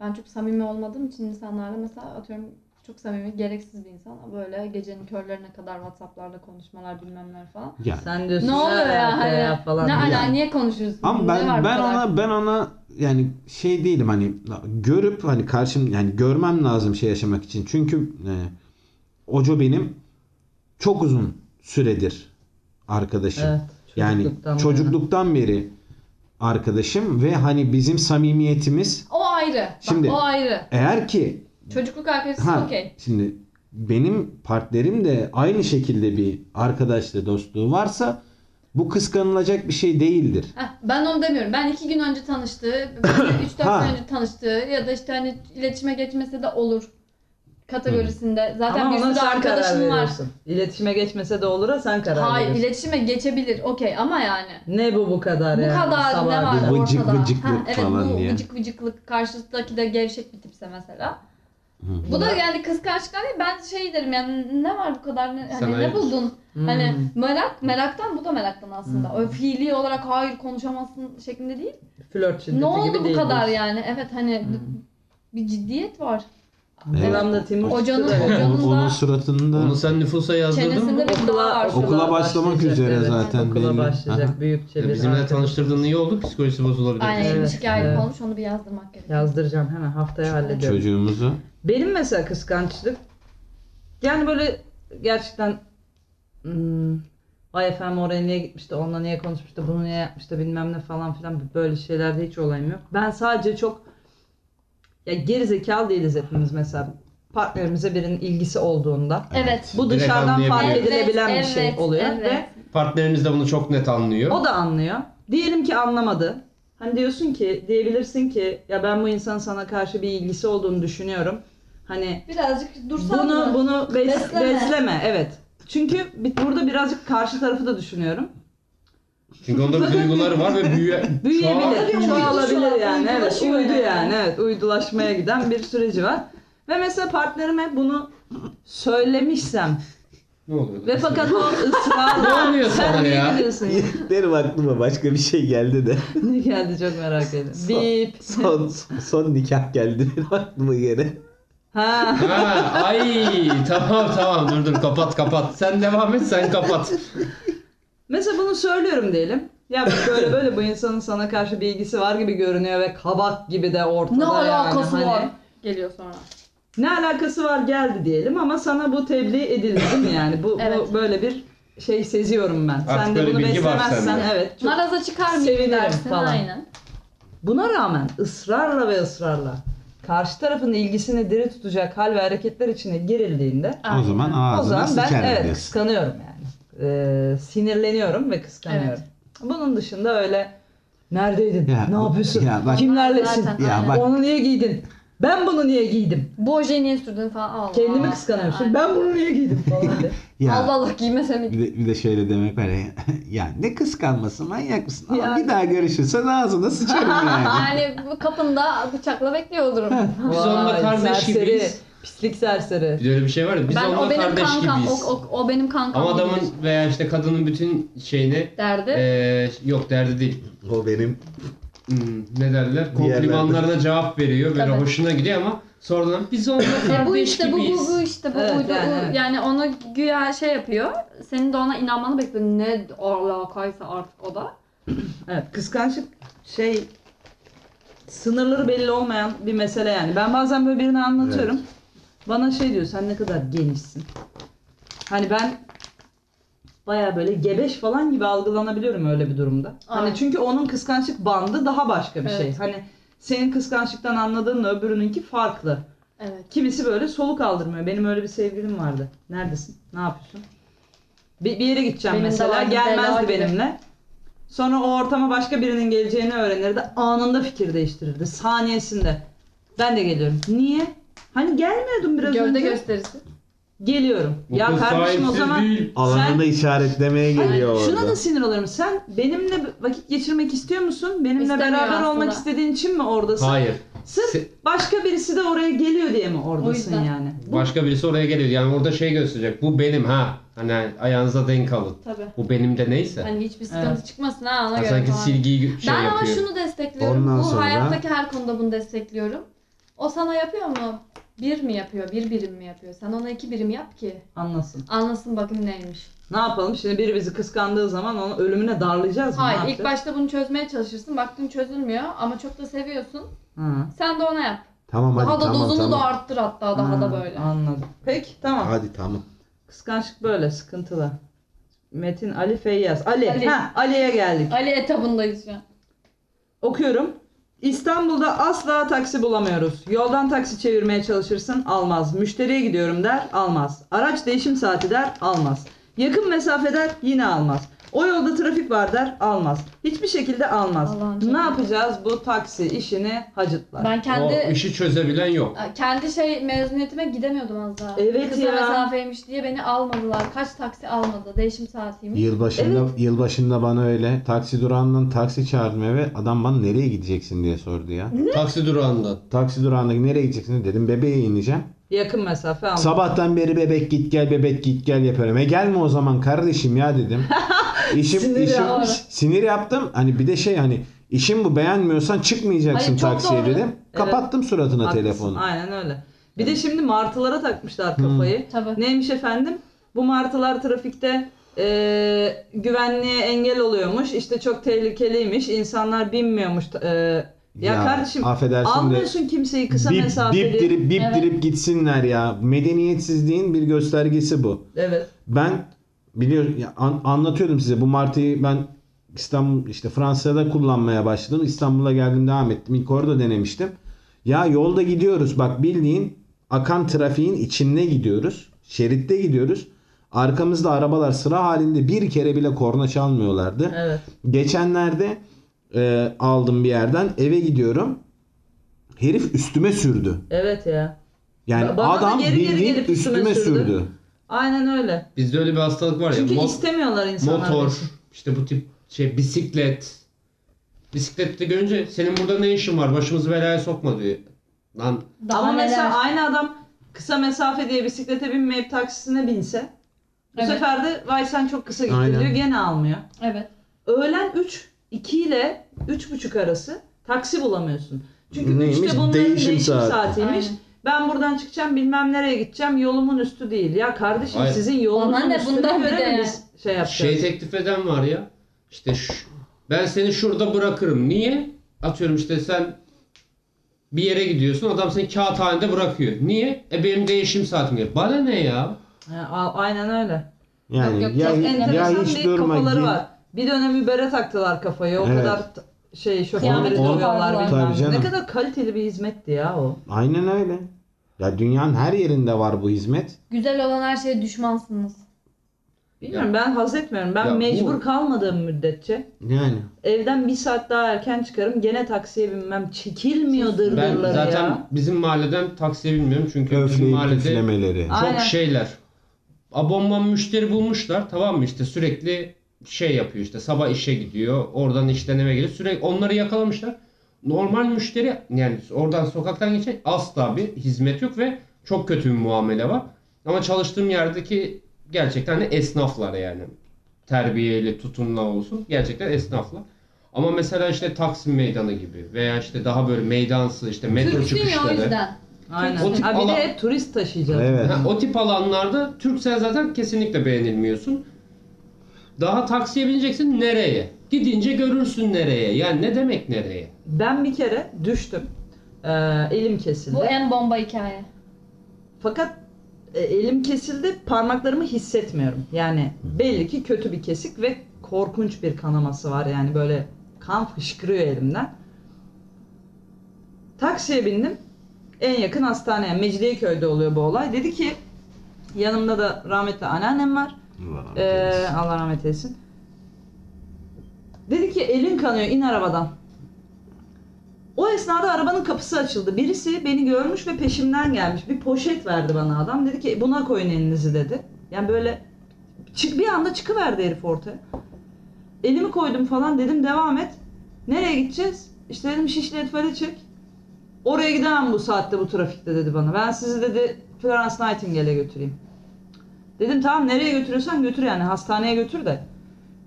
Speaker 2: Ben çok samimi olmadığım için insanlarla mesela atıyorum çok samimi, gereksiz bir insan. Böyle gecenin körlerine kadar Whatsapp'larda konuşmalar bilmemler falan.
Speaker 4: ya.
Speaker 1: Sen diyorsun
Speaker 2: ne oluyor ya
Speaker 1: alaka
Speaker 2: hani?
Speaker 1: falan.
Speaker 2: ne
Speaker 1: diye.
Speaker 2: ala niye konuşuyorsun?
Speaker 4: Ama
Speaker 2: Ne var
Speaker 4: ben
Speaker 2: bu
Speaker 4: ben
Speaker 2: kadar?
Speaker 4: ona ben ona yani şey değilim hani görüp hani karşım yani görmem lazım şey yaşamak için. Çünkü e, Oco benim çok uzun süredir arkadaşım.
Speaker 1: Evet,
Speaker 4: yani
Speaker 1: çocukluktan bu
Speaker 4: çocukluktan beri arkadaşım ve hani bizim samimiyetimiz
Speaker 2: O ayrı. Bak,
Speaker 4: Şimdi-
Speaker 2: o ayrı.
Speaker 4: eğer ki
Speaker 2: Çocukluk arkadaşlısı
Speaker 4: ha
Speaker 2: okey.
Speaker 4: şimdi benim partnerim de aynı şekilde bir arkadaşla dostluğu varsa bu kıskanılacak bir şey değildir.
Speaker 2: Heh, Ben onu demiyorum. Ben iki gün önce
Speaker 1: [laughs]
Speaker 2: tanıştığı, 3-4
Speaker 4: Ha.
Speaker 2: gün önce tanıştığı ya da işte hani iletişime geçmese de olur kategorisinde. Zaten
Speaker 1: Ama
Speaker 2: bir
Speaker 1: ona
Speaker 2: sürü
Speaker 1: sen karar
Speaker 2: arkadaşım var.
Speaker 1: veriyorsun. İletişime geçmese de olur ha sen karar
Speaker 2: Hayır
Speaker 1: veriyorsun.
Speaker 2: iletişime geçebilir okey ama yani.
Speaker 1: Ne bu bu kadar
Speaker 2: Bu
Speaker 1: yani?
Speaker 2: kadar ne
Speaker 1: sabah
Speaker 2: var
Speaker 1: gibi.
Speaker 4: Bu vıcık
Speaker 2: ortada?
Speaker 4: vıcıklık
Speaker 2: evet,
Speaker 4: falan
Speaker 2: bu
Speaker 4: diye.
Speaker 2: vıcık vıcıklık karşısındaki de gevşek bir tipse mesela.
Speaker 4: Hı.
Speaker 2: Bu da yani kıskançlıktan değil ben şey derim yani ne var bu kadar ne,
Speaker 3: Sen
Speaker 2: hani
Speaker 3: hayır.
Speaker 2: ne buldun?
Speaker 1: Hmm.
Speaker 2: Hani merak meraktan bu da meraktan aslında. O fiili olarak hayır konuşamazsın şeklinde değil.
Speaker 1: flört şiddeti gibi
Speaker 2: ne oldu bu
Speaker 1: değil Hmm.
Speaker 2: kadar
Speaker 1: diyorsun.
Speaker 2: yani? Evet hani bir ciddiyet var.
Speaker 4: Evet.
Speaker 1: Devamlı Timur
Speaker 2: Hocanın-
Speaker 1: çıktı da.
Speaker 2: hoca-
Speaker 4: Onun,
Speaker 2: Yanında-
Speaker 4: onun suratında
Speaker 3: Onu sen nüfusa yazdırdın mı?
Speaker 2: Çenesinde bir
Speaker 1: Okula-
Speaker 2: dağ var.
Speaker 1: okula
Speaker 4: Okula başlamak
Speaker 1: başlayacak,
Speaker 4: üzere
Speaker 1: evet.
Speaker 4: zaten.
Speaker 1: Okula
Speaker 4: belli.
Speaker 1: başlayacak
Speaker 4: Aha.
Speaker 1: büyükçe
Speaker 3: Ya
Speaker 1: bir
Speaker 3: Bizimle
Speaker 1: artık.
Speaker 3: tanıştırdığın iyi oldu. Psikolojisi bozulabilir.
Speaker 2: Aynen
Speaker 1: Evet,
Speaker 2: şikayet
Speaker 1: evet.
Speaker 2: olmuş onu bir yazdırmak gerekiyor.
Speaker 1: Yazdıracağım hemen haftaya hallediyorum.
Speaker 4: Çocuğumuzu.
Speaker 1: Benim mesela kıskançlık yani böyle gerçekten hmm, vay efendim oraya niye gitmişti, onunla niye konuşmuştu, bunu niye yapmıştı bilmem ne falan filan böyle şeylerde hiç olayım yok. Ben sadece çok ya geri zekalı değiliz hepimiz mesela. Partnerimize birinin ilgisi olduğunda
Speaker 2: Evet.
Speaker 1: bu
Speaker 3: Direkt
Speaker 1: dışarıdan fark
Speaker 3: anlayabiliyor.
Speaker 1: edilebilen
Speaker 2: Evet,
Speaker 1: bir şey
Speaker 2: evet,
Speaker 1: oluyor
Speaker 2: evet.
Speaker 1: ve
Speaker 3: Partneriniz de bunu çok net anlıyor.
Speaker 1: o da anlıyor. Diyelim ki anlamadı. Hani diyorsun ki diyebilirsin ki ya ben bu insanın sana karşı bir ilgisi olduğunu düşünüyorum. Hani
Speaker 2: Birazcık dursan
Speaker 1: bunu
Speaker 2: mı?
Speaker 1: bunu bes- besleme.
Speaker 2: Besleme.
Speaker 1: evet. Çünkü bi- burada birazcık karşı tarafı da düşünüyorum.
Speaker 3: Çünkü onda bir duyguları var ve
Speaker 1: [laughs]
Speaker 3: büyüye...
Speaker 1: Büyüyebilir,
Speaker 2: Çoğal-
Speaker 1: çoğalabilir
Speaker 2: Uydu şu an,
Speaker 1: yani. Evet,
Speaker 2: uydulaşıyor
Speaker 1: uydu
Speaker 2: yani.
Speaker 1: yani. Evet, uydulaşmaya giden bir süreci var. Ve mesela partnerime bunu söylemişsem
Speaker 3: Ne oluyor?
Speaker 1: ve fakat
Speaker 2: [laughs]
Speaker 1: o ısrarla
Speaker 3: Ne oluyor
Speaker 1: sen
Speaker 3: sana
Speaker 1: niye
Speaker 3: ya?"
Speaker 1: gülüyorsun ya?
Speaker 4: [laughs] Benim aklıma başka bir şey geldi de.
Speaker 1: ne geldi çok
Speaker 3: [laughs]
Speaker 1: merak ediyorum.
Speaker 4: Son-
Speaker 1: Bip.
Speaker 4: Son, son nikah geldi benim aklıma gene.
Speaker 1: Ha.
Speaker 3: Ha, ay tamam tamam dur dur kapat kapat. Sen devam et sen kapat.
Speaker 1: Mesela bunu söylüyorum diyelim. Ya bak böyle böyle bu insanın sana karşı bir ilgisi var gibi görünüyor ve kabak gibi de ortada
Speaker 2: Ne
Speaker 1: yani.
Speaker 2: alakası
Speaker 1: Hani-
Speaker 2: var? Geliyor sonra.
Speaker 1: ne alakası var geldi diyelim ama sana bu tebliğ edildi değil mi yani? Bu,
Speaker 2: Evet.
Speaker 1: bu böyle bir şey seziyorum ben. sen de
Speaker 3: böyle
Speaker 1: bunu
Speaker 3: bilgi var
Speaker 1: beslemezsen
Speaker 3: sende.
Speaker 1: evet. Çok-
Speaker 2: Naraza çıkar mı
Speaker 1: sevinirim
Speaker 2: dersin
Speaker 1: falan.
Speaker 2: aynen.
Speaker 1: Buna rağmen ısrarla ve ısrarla karşı tarafın ilgisini diri tutacak hal ve hareketler içine girildiğinde
Speaker 4: O zaman
Speaker 1: o zaman
Speaker 4: ağzına
Speaker 1: ben
Speaker 4: sıçarım
Speaker 1: evet
Speaker 4: diyorsun.
Speaker 1: kıskanıyorum yani. Ee, sinirleniyorum ve kıskanıyorum. Bunun dışında öyle neredeydin?
Speaker 4: Ya,
Speaker 1: ne yapıyorsun?
Speaker 4: ya bak-
Speaker 1: Kimlerlesin?
Speaker 2: Zaten,
Speaker 4: Ya
Speaker 2: aynen.
Speaker 4: bak-
Speaker 1: Onu niye giydin? Ben bunu niye giydim?
Speaker 2: Bu ojeyi niye sürdün falan. Allah.
Speaker 1: Kendimi kıskanıyorum. Şimdi
Speaker 2: Aynen.
Speaker 1: ben bunu niye giydim falan diye.
Speaker 4: Ya,
Speaker 2: Allah Allah giymesem iyi.
Speaker 4: Bir, de, bir de şöyle demek var ya. [laughs] ya ne kıskanması manyak mısın? Ama
Speaker 1: Ya.
Speaker 4: bir daha görüşürsen ağzına
Speaker 2: [laughs]
Speaker 4: sıçarım yani.
Speaker 2: Yani Hani bu kapında bıçakla bekliyor olurum.
Speaker 3: Biz onunla
Speaker 1: Vay,
Speaker 3: kardeş
Speaker 1: serseri,
Speaker 3: gibiyiz.
Speaker 1: Pislik serseri.
Speaker 3: Bir de öyle bir şey var ya biz
Speaker 2: ben o
Speaker 3: onunla
Speaker 2: benim
Speaker 3: kardeş
Speaker 2: kankam,
Speaker 3: gibiyiz.
Speaker 2: o, o, o benim kankam
Speaker 3: Ama
Speaker 2: gibidir
Speaker 3: adamın Ee, veya işte kadının bütün şeyini
Speaker 2: derdi.
Speaker 3: eee, yok derdi değil.
Speaker 4: o benim.
Speaker 3: Hmm, ne derler?
Speaker 4: Bir yerlerde.
Speaker 3: Komplimanlarına cevap veriyor. Böyle
Speaker 2: Tabii.
Speaker 3: hoşuna gidiyor ama sonradan
Speaker 2: [laughs]
Speaker 3: biz onunla
Speaker 2: E,
Speaker 3: kardeş
Speaker 2: bu işte bu bu
Speaker 3: gibiyiz.
Speaker 2: bu işte bu
Speaker 1: Evet,
Speaker 2: buydu, bu
Speaker 1: yani,
Speaker 2: yani,
Speaker 1: evet.
Speaker 2: onu güya şey yapıyor. Senin de ona inanmanı bekliyor. Ne alakaysa artık o da.
Speaker 1: Evet, kıskançlık şey sınırları belli olmayan bir mesele yani. Ben bazen böyle birini anlatıyorum. Bana şey diyor sen ne kadar genişsin. Hani ben baya böyle gebeş falan gibi algılanabiliyorum öyle bir durumda.
Speaker 2: Aynen.
Speaker 1: Hani çünkü onun kıskançlık bandı daha başka bir şey.
Speaker 2: Evet.
Speaker 1: Hani senin kıskançlıktan anladığınla öbürününki farklı.
Speaker 2: Evet.
Speaker 1: Kimisi böyle soluk aldırmıyor. Benim öyle bir sevgilim vardı. Neredesin? Ne yapıyorsun? Bir, bir yere gideceğim
Speaker 2: Benim de
Speaker 1: mesela.
Speaker 2: vardı, bela
Speaker 1: Gelmezdi
Speaker 2: gibi.
Speaker 1: benimle. Sonra o ortama başka birinin geleceğini öğrenirdi. Anında fikir değiştirirdi. Saniyesinde. Ben de geliyorum. Niye? Hani gelmiyordun biraz
Speaker 2: Gövde
Speaker 1: önce.
Speaker 2: gösterisi.
Speaker 1: Geliyorum.
Speaker 3: Bu
Speaker 1: ya
Speaker 3: kız
Speaker 1: kardeşim o
Speaker 3: sahipsiz
Speaker 1: zaman
Speaker 3: değil.
Speaker 1: sen
Speaker 5: Alanını işaretlemeye
Speaker 1: Hayır,
Speaker 5: geliyor
Speaker 1: şuna
Speaker 5: orada.
Speaker 1: da sinir olurum. Sen benimle vakit geçirmek istiyor musun? Benimle
Speaker 2: İstemiyor
Speaker 1: beraber
Speaker 2: aslında.
Speaker 1: olmak istediğin için mi oradasın?
Speaker 3: Hayır.
Speaker 1: Sırf
Speaker 3: Se-
Speaker 1: başka birisi de oraya geliyor diye mi
Speaker 2: O
Speaker 1: oradasın
Speaker 2: yüzden.
Speaker 1: yani?
Speaker 3: Başka birisi oraya geliyor. Yani orada şey gösterecek. Bu benim ha. Hani ayağınıza denk alın.
Speaker 2: Tabii.
Speaker 3: Bu benim de neyse.
Speaker 2: Hani hiçbir sıkıntı
Speaker 1: Evet.
Speaker 2: çıkmasın ha ona
Speaker 3: Ha,
Speaker 2: göre
Speaker 3: sanki
Speaker 2: falan.
Speaker 3: silgiyi gö- şey
Speaker 2: ben
Speaker 3: yapıyor.
Speaker 2: ama şunu destekliyorum.
Speaker 4: Ondan
Speaker 2: Bu
Speaker 4: sonra-
Speaker 2: hayattaki her konuda bunu destekliyorum. O sana yapıyor mu? Bir mi yapıyor? Bir birim mi yapıyor? Sen ona iki birim yap ki.
Speaker 1: Anlasın.
Speaker 2: Anlasın bakayım neymiş.
Speaker 1: Ne yapalım? Şimdi biri bizi kıskandığı zaman onu ölümüne darlayacağız mı?
Speaker 2: Hayır
Speaker 1: Ne
Speaker 2: ilk
Speaker 1: yapacağız?
Speaker 2: başta bunu çözmeye çalışırsın. Baktın çözülmüyor ama çok da seviyorsun.
Speaker 1: Hı.
Speaker 2: Sen de ona yap.
Speaker 4: Tamam hadi
Speaker 2: daha da
Speaker 4: tamam
Speaker 2: dozunu da
Speaker 4: tamam. Hmm.
Speaker 2: arttır hatta daha
Speaker 1: Ha,
Speaker 2: da böyle.
Speaker 1: Anladım. Peki tamam.
Speaker 4: Hadi tamam.
Speaker 1: Kıskançlık böyle sıkıntılı. Metin Ali Feyyaz. Ali.
Speaker 2: Ali.
Speaker 1: Ha, Ali'ye geldik.
Speaker 2: Ali etabındayız şu an.
Speaker 1: Okuyorum. İstanbul'da asla taksi bulamıyoruz. Yoldan taksi çevirmeye çalışırsın almaz. Müşteriye gidiyorum der almaz. Araç değişim saati der almaz. Yakın mesafe der yine almaz. O yolda trafik var der almaz. Hiçbir şekilde almaz.
Speaker 2: Allah'ım çok
Speaker 1: ne
Speaker 2: iyi.
Speaker 1: yapacağız bu taksi işini hacıtlar.
Speaker 2: Ben kendi
Speaker 3: O işi çözebilen yok.
Speaker 2: kendi şey mezuniyetime gidemiyordum az daha.
Speaker 1: Evet
Speaker 2: Kısa
Speaker 1: ya.
Speaker 2: mesafeymiş diye beni almadılar. Kaç taksi almadı. Değişim saatiymiş.
Speaker 4: Yılbaşında yılbaşında bana öyle taksi durağından taksi çağırdım eve. Adam bana nereye gideceksin diye sordu ya.
Speaker 3: Taksi durağından.
Speaker 4: Taksi durağındaki nereye gideceksin dedim. Bebeğe ineceğim.
Speaker 1: Yakın mesafe almaz.
Speaker 4: Sabahtan beri bebek git gel bebek git gel yapıyorum. E gelme o zaman kardeşim
Speaker 1: [laughs]
Speaker 4: ya dedim. İşim,
Speaker 1: Sinir
Speaker 4: işim,
Speaker 1: ya.
Speaker 4: sinir yaptım. Hani bir de şey hani işim bu beğenmiyorsan çıkmayacaksın
Speaker 2: Hayır,
Speaker 1: Hani
Speaker 2: çok
Speaker 4: taksiye
Speaker 2: doğru.
Speaker 4: dedim. Kapattım suratına
Speaker 1: Haklısın,
Speaker 4: telefonu. Hmm.
Speaker 1: Aynen öyle. Bir de şimdi martılara takmışlar kafayı.
Speaker 2: Tabii.
Speaker 1: Neymiş efendim? Bu martılar trafikte e, güvenliğe engel oluyormuş. İşte çok tehlikeliymiş. İnsanlar binmiyormuş. E, ya, kardeşim
Speaker 4: affedersin de
Speaker 1: almıyorsun kimseyi kısa
Speaker 4: bip,
Speaker 1: mesafeli.
Speaker 4: bip dirip bip
Speaker 2: Evet.
Speaker 4: dirip gitsinler ya. Medeniyetsizliğin bir göstergesi bu.
Speaker 1: Evet.
Speaker 4: Ben biliyorum ya an- anlatıyordum size bu martıyı ben İstanbul işte Fransa'da kullanmaya başladım. İstanbul'a geldim devam ettim. İlk orada denemiştim. Ya yolda gidiyoruz bak bildiğin akan trafiğin içinde gidiyoruz. Şeritte gidiyoruz. Arkamızda arabalar sıra halinde bir kere bile korna çalmıyorlardı.
Speaker 1: Evet.
Speaker 4: Geçenlerde e, aldım bir yerden eve gidiyorum. Herif üstüme sürdü.
Speaker 1: Evet ya.
Speaker 4: Yani
Speaker 1: Ba- bana da
Speaker 4: adam
Speaker 1: geri geri
Speaker 4: bildiğin
Speaker 1: gelip üstüme
Speaker 4: üstüme,
Speaker 1: sürdü.
Speaker 4: sürdü.
Speaker 1: Aynen öyle.
Speaker 3: Bizde öyle bir hastalık var ya.
Speaker 1: Çünkü
Speaker 3: mo-
Speaker 1: istemiyorlar insanlar.
Speaker 3: motor,
Speaker 1: bizi.
Speaker 3: işte bu tip şey bisiklet. Bisiklette görünce senin burada ne işin var? Başımızı belaya sokma diyor. Lan
Speaker 2: Daha
Speaker 1: Ama
Speaker 2: neler.
Speaker 1: mesela aynı adam kısa mesafe diye bisiklete binmeyip taksisine binse bu
Speaker 2: Evet.
Speaker 1: sefer de vay sen çok kısa gittin
Speaker 4: Aynen.
Speaker 1: diyor gene almıyor.
Speaker 2: Evet.
Speaker 1: öğlen 3, 2 ile 3.30 arası taksi bulamıyorsun. Çünkü
Speaker 4: Neymiş?
Speaker 1: üçte bunların değişim,
Speaker 4: Değişim saati.
Speaker 1: saatiymiş.
Speaker 2: Aynen.
Speaker 1: Ben buradan çıkacağım bilmem nereye gideceğim yolumun üstü değil. Ya kardeşim
Speaker 3: Hayır.
Speaker 1: sizin yolunun
Speaker 2: Bana ne
Speaker 1: üstüne
Speaker 2: bundan bir
Speaker 1: göre
Speaker 2: de.
Speaker 1: mi biz şey yapacağız?
Speaker 3: şey teklif eden var ya. İşte şu, ben seni şurada bırakırım. Niye? Atıyorum işte sen bir yere gidiyorsun. Adam seni kağıthanede bırakıyor. Niye? E benim değişim saatim geliyor. Bana ne ya?
Speaker 1: Ha, a- aynen öyle.
Speaker 4: Yani
Speaker 2: Yok, yok,
Speaker 4: ya,
Speaker 2: çok
Speaker 4: ya
Speaker 1: Enteresan
Speaker 4: hiç
Speaker 1: bir
Speaker 4: durma
Speaker 1: kafaları
Speaker 4: git.
Speaker 1: var. Bir dönem Uber'e taktılar kafayı. O
Speaker 4: Evet.
Speaker 1: kadar t- şey şoförleri
Speaker 2: Kıyameti
Speaker 1: dövüyorlar
Speaker 2: kopardılar.
Speaker 1: bilmem
Speaker 4: Tabii
Speaker 1: ne. Ne
Speaker 4: canım.
Speaker 1: kadar kaliteli bir hizmetti ya o.
Speaker 4: Aynen öyle. Ya dünyanın her yerinde var bu hizmet.
Speaker 2: Güzel olan her şeye düşmansınız.
Speaker 1: Bilmiyorum ben haz etmiyorum. Ben
Speaker 3: Ya bu-
Speaker 1: mecbur kalmadığım müddetçe
Speaker 4: Yani
Speaker 1: Evden bir saat daha erken çıkarım. Gene taksiye binmem. Çekilmiyordur
Speaker 3: Ben
Speaker 1: buraları
Speaker 3: zaten
Speaker 1: ya.
Speaker 3: bizim mahalleden taksiye binmiyorum. Çünkü bizim
Speaker 4: öfleyi
Speaker 3: mahallede
Speaker 4: püflemeleri.
Speaker 1: Ay-
Speaker 3: Çok
Speaker 1: Aynen.
Speaker 3: şeyler. Abonman müşteri bulmuşlar tamam mı işte sürekli şey yapıyor işte sabah işe gidiyor oradan işten eve geliyor sürekli onları yakalamışlar. Normal müşteri yani oradan sokaktan geçen asla bir hizmet yok ve çok kötü bir muamele var. Ama çalıştığım yerdeki gerçekten de esnaflar yani terbiyeli tutumla olsun gerçekten esnaflar. Ama mesela işte Taksim Meydanı gibi veya işte daha böyle meydansı işte metro
Speaker 2: Türksün ya o
Speaker 3: çıkışları.
Speaker 2: yüzden.
Speaker 1: Aynen.
Speaker 3: O tip
Speaker 1: Ha, bir de
Speaker 3: alan-
Speaker 1: hep turist taşıyacağız.
Speaker 4: Evet.
Speaker 3: Ha, o tip alanlarda Türksel zaten kesinlikle beğenilmiyorsun. Daha taksiye bineceksin nereye? Gidince görürsün nereye. Yani ne demek nereye?
Speaker 1: Ben bir kere düştüm. Ee, elim kesildi.
Speaker 2: Bu en bomba hikaye.
Speaker 1: Fakat e, elim kesildi. Parmaklarımı hissetmiyorum. Yani belli ki kötü bir kesik ve korkunç bir kanaması var. Yani böyle kan fışkırıyor elimden. Taksiye bindim. En yakın hastaneye. Mecidiyeköy'de oluyor bu olay. Dedi ki yanımda da rahmetli anneannem var. Ee, Allah rahmet eylesin. Dedi ki elin kanıyor in arabadan. O esnada arabanın kapısı açıldı. Birisi beni görmüş ve peşimden gelmiş. Bir poşet verdi bana adam. Dedi ki buna koyun elinizi dedi. Yani böyle çık bir anda çıkıverdi herif ortaya. Elimi koydum falan dedim devam et. Nereye gideceğz? İşte dedim Şişli Etfal'e çek. Oraya gidemem bu saatte bu trafikte dedi bana. Ben sizi dedi Florence Nightingale'e götüreyim. Dedim tamam nereye götürüyorsan götür yani hastaneye götür de.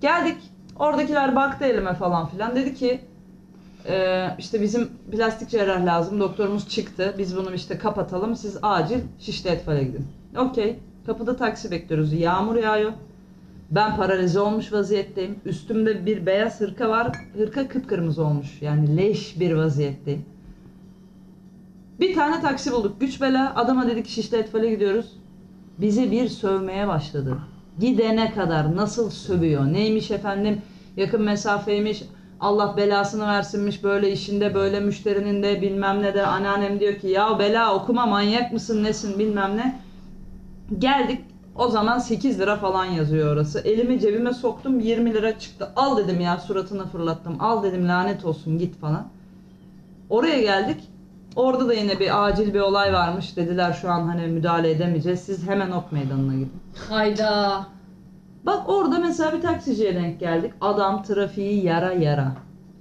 Speaker 1: Geldik oradakiler baktı elime falan filan dedi ki "Ee, işte bizim plastik cerrah lazım doktorumuz çıktı biz bunu işte kapatalım siz acil Şişli Etfal'e gidin. Okey kapıda taksi bekliyoruz yağmur yağıyor. Ben paralize olmuş vaziyetteyim. Üstümde bir beyaz hırka var. Hırka kıpkırmızı olmuş. Yani leş bir vaziyetteyim. Bir tane taksi bulduk. Güç bela. Adama dedik Şişli Etfal'e gidiyoruz. Bizi bir sövmeye başladı. Gidene kadar nasıl sövüyor? Neymiş efendim? Yakın mesafeymiş. Allah belasını versinmiş böyle işinde böyle müşterinin de bilmem ne de anneannem diyor ki ya bela okuma manyak mısın nesin bilmem ne. Geldik o zaman 8 lira falan yazıyor orası. Elimi cebime soktum 20 lira çıktı. Al dedim ya suratına fırlattım. Al dedim lanet olsun git falan. Oraya geldik. Orada da yine bir acil bir olay varmış. Dediler şu an hani müdahale edemeyeceğiz. Siz hemen ok meydanına gidin.
Speaker 2: Hayda.
Speaker 1: Bak orada mesela bir taksiciye denk geldik. Adam trafiği yara yara.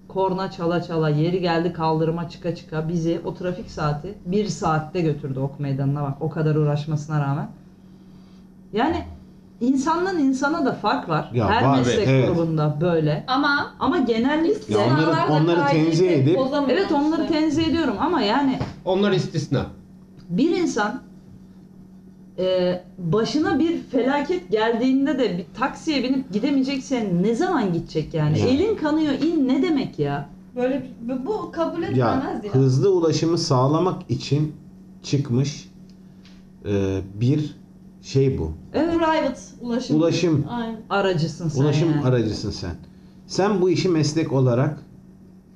Speaker 1: Korna çala çala yeri geldi kaldırıma çıka çıka bizi o trafik saati bir saatte götürdü ok meydanına bak o kadar uğraşmasına rağmen. Yani insandan insana da fark var.
Speaker 4: Ya
Speaker 1: Her
Speaker 4: var,
Speaker 1: meslek
Speaker 4: evet.
Speaker 1: grubunda böyle.
Speaker 2: Ama
Speaker 1: Ama genellikle
Speaker 4: Ya onları-
Speaker 2: istisnalar da
Speaker 4: onları
Speaker 2: kaideyi
Speaker 4: tenzih
Speaker 2: pek
Speaker 4: edip-
Speaker 2: bozamıyor
Speaker 1: evet onları
Speaker 2: işte.
Speaker 1: tenzih ediyorum ama yani
Speaker 3: Onlar istisna.
Speaker 1: bir insan e, başına bir felaket geldiğinde de bir taksiye binip gidemeyecekse ne zaman gidecek yani?
Speaker 4: Ya.
Speaker 1: Elin kanıyor in ne demek ya?
Speaker 2: Böyle bu- bu kabul
Speaker 4: Ya
Speaker 2: edilmez ya.
Speaker 4: hızlı ulaşımı sağlamak için çıkmış e, bir şey bu.
Speaker 1: Evet
Speaker 2: Private ulaşım.
Speaker 4: Ulaşım.
Speaker 2: Aynen.
Speaker 1: aracısın sen
Speaker 4: Ulaşım
Speaker 1: yani.
Speaker 4: aracısın sen. Sen bu işi meslek olarak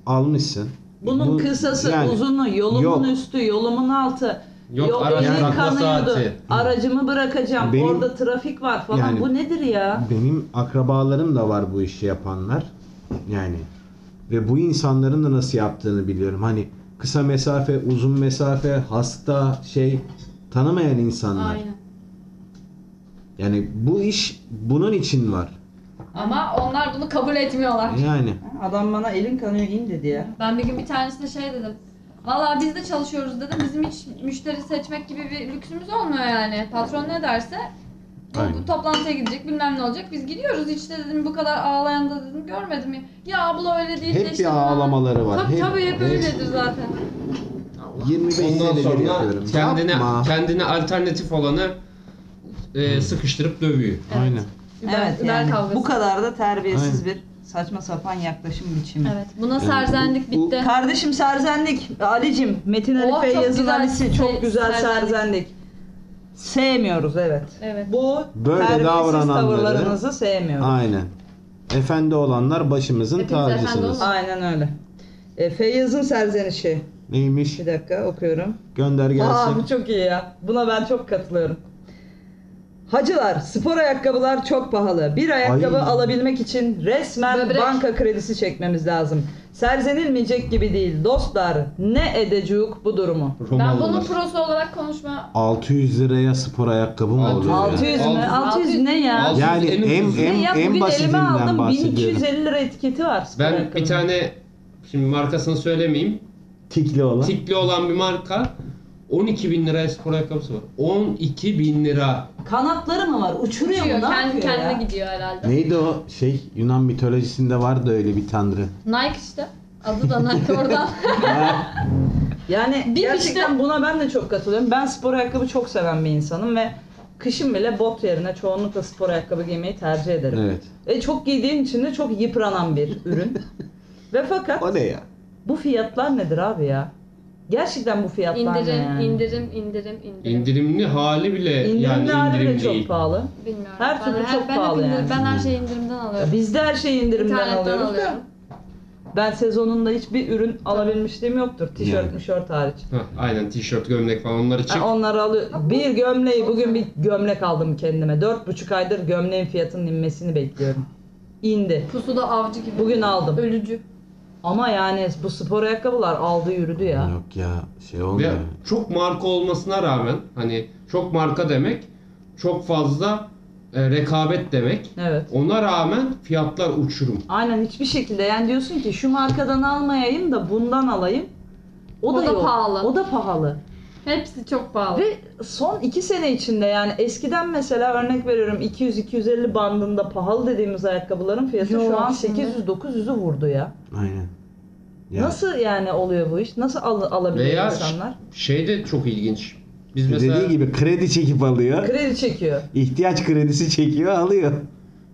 Speaker 4: almışsın.
Speaker 1: Bunun
Speaker 4: Bu-
Speaker 1: kısası
Speaker 4: yani
Speaker 1: uzunu, yolumun
Speaker 4: yok.
Speaker 1: üstü, yolumun altı.
Speaker 3: Yok, aracı
Speaker 1: elin
Speaker 3: bırakma
Speaker 1: kanıyordu.
Speaker 3: saati.
Speaker 1: Aracımı bırakacağım.
Speaker 4: Benim-
Speaker 1: Orada trafik var falan.
Speaker 4: Yani-
Speaker 1: Bu nedir ya?
Speaker 4: Benim akrabalarım da var bu işi yapanlar. Yani ve bu insanların da nasıl yaptığını biliyorum. Hani kısa mesafe, uzun mesafe, hasta, şey tanımayan insanlar.
Speaker 2: Aynen.
Speaker 4: Yani bu iş bunun için var.
Speaker 2: Ama onlar bunu kabul etmiyorlar.
Speaker 4: Yani
Speaker 1: Adam bana elin kanıyor in dedi ya.
Speaker 2: Ben bir gün bir tanesine şey dedim. Valla biz de çalışıyoruz dedim. Bizim hiç müşteri seçmek gibi bir lüksümüz olmuyor yani. Patron ne derse bu,
Speaker 4: Aynen.
Speaker 2: bu toplantıya gidecek bilmem ne olacak. Biz gidiyoruz hiç de dedim bu kadar ağlayan da dedim görmedim ya. Ya abla öyle değil de
Speaker 4: hep bir
Speaker 2: işte falan."
Speaker 4: ağlamaları var.
Speaker 2: Tabii
Speaker 4: hep,
Speaker 2: tabii hep öyledir zaten.
Speaker 4: 25
Speaker 3: Ondan
Speaker 4: senedir
Speaker 3: sonra
Speaker 4: yapıyorum.
Speaker 3: kendine
Speaker 4: şey Yapma.
Speaker 3: kendine alternatif olanı e, sıkıştırıp dövüyor.
Speaker 4: Aynen.
Speaker 2: Über,
Speaker 1: evet
Speaker 2: über
Speaker 1: yani
Speaker 2: kavgası.
Speaker 1: bu kadar da terbiyesiz bir saçma sapan yaklaşım biçimi.
Speaker 2: Evet buna
Speaker 4: bu-
Speaker 2: serzendik
Speaker 4: bu-
Speaker 2: bitti.
Speaker 1: Kardeşim serzenlik. Ali'cim, Metin
Speaker 2: Oh,
Speaker 1: Alif'e
Speaker 2: çok
Speaker 1: yazın
Speaker 2: güzel
Speaker 1: Ali'si çok
Speaker 2: se-
Speaker 1: güzel
Speaker 2: serzenlik.
Speaker 1: serzenlik. Sevmiyoruz evet.
Speaker 2: Evet.
Speaker 1: Bu
Speaker 4: Böyle
Speaker 1: terbiyesiz
Speaker 4: davrananları-
Speaker 1: tavırlarınızı sevmiyoruz.
Speaker 4: Aynen. Efendi olanlar başımızın
Speaker 2: Hepimiz efendi
Speaker 4: tacısınız.
Speaker 2: olalım.
Speaker 1: Aynen öyle. E, Feyyaz'ın serzenişi.
Speaker 4: Neymiş?
Speaker 1: Bir dakika okuyorum.
Speaker 4: Gönder
Speaker 1: Aa
Speaker 4: gelsin.
Speaker 1: bu çok iyi ya. Buna ben çok katılıyorum. Hacılar, spor ayakkabılar çok pahalı. Bir ayakkabı
Speaker 4: Ay.
Speaker 1: alabilmek için resmen
Speaker 2: Böbrek.
Speaker 1: banka kredisi çekmemiz lazım. Serzenilmeyecek gibi değil. Dostlar, ne edecek bu durumu?
Speaker 2: Ben
Speaker 3: Romalılar.
Speaker 2: bunun prosu olarak konuşma 600
Speaker 4: 600 liraya spor ayakkabı mı
Speaker 3: Altı-
Speaker 4: oluyor? ya?
Speaker 1: 600 mü? 600,
Speaker 2: 600
Speaker 1: ne ya?
Speaker 3: Altı-
Speaker 4: Yani
Speaker 3: En
Speaker 4: en
Speaker 3: ucuzu.
Speaker 1: Ne
Speaker 4: en
Speaker 1: ya?
Speaker 4: en
Speaker 1: Bugün elime
Speaker 4: basitinden
Speaker 1: aldım.
Speaker 4: bahsediyorum.
Speaker 1: 1250 lira etiketi var spor
Speaker 3: Ben
Speaker 1: ayakkabının.
Speaker 3: bir tane şimdi markasını söylemeyeyim.
Speaker 4: Tikli olan.
Speaker 3: Tikli olan bir marka 12 bin liraya spor ayakkabısı var. 12 bin lira.
Speaker 1: Kanatları mı var? Uçuruyor mu? Ne
Speaker 2: Uçuyor, kendi
Speaker 1: yapıyor
Speaker 2: kendine
Speaker 1: ya?
Speaker 2: gidiyor herhalde.
Speaker 4: Neydi o şey Yunan mitolojisinde vardı öyle bir tanrı.
Speaker 2: Nike işte. Adı da Nike
Speaker 1: [laughs]
Speaker 2: oradan.
Speaker 1: Yani
Speaker 2: Bir
Speaker 1: gerçekten
Speaker 2: işte-
Speaker 1: buna ben de çok katılıyorum. Ben spor ayakkabı çok seven bir insanım ve kışın bile bot yerine çoğunlukla spor ayakkabı giymeyi tercih ederim.
Speaker 4: Evet.
Speaker 1: E çok giydiğim için de çok yıpranan bir
Speaker 3: [laughs]
Speaker 1: ürün. ve fakat
Speaker 4: O ne ya?
Speaker 1: bu fiyatlar nedir abi ya? Gerçekten bu fiyatlar ne
Speaker 2: indirim,
Speaker 1: yani?
Speaker 2: indirim, indirim, indirim.
Speaker 3: İndirimli hali bile
Speaker 1: İndirimli
Speaker 3: E, yani
Speaker 1: hali
Speaker 3: indirim
Speaker 1: de çok
Speaker 3: değil.
Speaker 1: pahalı.
Speaker 2: Bilmiyorum.
Speaker 1: Her türlü
Speaker 2: ben,
Speaker 1: çok
Speaker 2: ben hep
Speaker 1: pahalı
Speaker 2: indir-
Speaker 1: yani.
Speaker 2: Ben her şeyi indirimden
Speaker 1: Ya
Speaker 2: alıyorum.
Speaker 1: Biz de her şeyi indirimden
Speaker 2: İnternetten
Speaker 1: alıyoruz da.
Speaker 2: alıyorum.
Speaker 1: Ben sezonunda hiçbir ürün alabilmişliğim yoktur. Tişört,
Speaker 4: Yani.
Speaker 1: mişört hariç.
Speaker 3: Hah, aynen tişört, gömlek falan onlar için.
Speaker 1: Ha, onları alıyor. Bir gömleği bugün bir gömlek aldım kendime. Dört buçuk aydır gömleğin fiyatının inmesini bekliyorum. İndi.
Speaker 2: Pusuda avcı gibi.
Speaker 1: Bugün aldım.
Speaker 2: Ölücü.
Speaker 1: Ama yani bu spor ayakkabılar aldı yürüdü ya.
Speaker 4: Yok ya şey
Speaker 3: Ve
Speaker 4: olmuyor.
Speaker 3: çok marka olmasına rağmen hani çok marka demek çok fazla e, rekabet demek.
Speaker 1: Evet.
Speaker 3: Ona rağmen fiyatlar uçurum.
Speaker 1: Aynen hiçbir şekilde yani diyorsun ki şu markadan almayayım da bundan alayım. O,
Speaker 2: O
Speaker 1: da,
Speaker 2: da
Speaker 1: yok.
Speaker 2: pahalı.
Speaker 1: O da pahalı.
Speaker 2: Hepsi çok pahalı.
Speaker 1: Ve son iki sene içinde yani eskiden mesela örnek veriyorum 200-250 bandında pahalı dediğimiz ayakkabıların fiyatı şu
Speaker 2: Yok,
Speaker 1: an
Speaker 2: şimdi.
Speaker 1: 800-900'ü vurdu ya.
Speaker 4: Aynen. Ya,
Speaker 1: Nasıl yani oluyor bu iş? Nasıl al- alabiliyor
Speaker 3: Veya
Speaker 1: insanlar?
Speaker 3: Şey de çok ilginç. Biz mesela
Speaker 4: Dediği gibi kredi çekip alıyor.
Speaker 1: Kredi çekiyor.
Speaker 4: ihtiyaç kredisi çekiyor alıyor.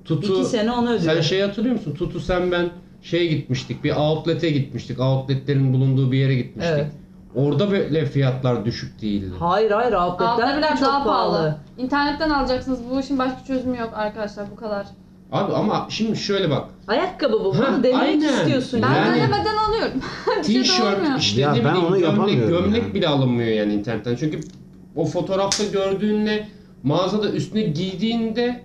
Speaker 3: tutu
Speaker 1: İki sene onu ödüyor.
Speaker 3: Sen şey hatırlıyor musun? Tutu sen ben şeye gitmiştik. Bir outlet'e gitmiştik. Outlet'lerin bulunduğu bir yere gitmiştik.
Speaker 1: Evet.
Speaker 3: Orada böyle fiyatlar düşük değildi.
Speaker 1: Hayır hayır outletler bile
Speaker 2: Altındakiler
Speaker 1: çok
Speaker 2: daha pahalı.
Speaker 1: pahalı.
Speaker 2: İnternetten alacaksınız. Bu işin başka çözümü yok arkadaşlar bu kadar.
Speaker 3: Abi ama şimdi şöyle bak.
Speaker 1: Ayakkabı bu.
Speaker 3: Ha,
Speaker 1: Bunu denemek
Speaker 3: aynen.
Speaker 1: istiyorsun.
Speaker 2: Ben
Speaker 3: Yani-
Speaker 2: denemeden alıyorum. [laughs] Bir şey de olmuyor.
Speaker 3: T-shirt işte
Speaker 4: Ya
Speaker 3: ne
Speaker 4: ben
Speaker 3: bileyim
Speaker 4: onu
Speaker 3: gömlek,
Speaker 4: yapamıyorum
Speaker 3: gömlek
Speaker 4: yani.
Speaker 3: bile alınmıyor yani internetten. Çünkü o fotoğrafta gördüğünle mağazada üstüne giydiğinde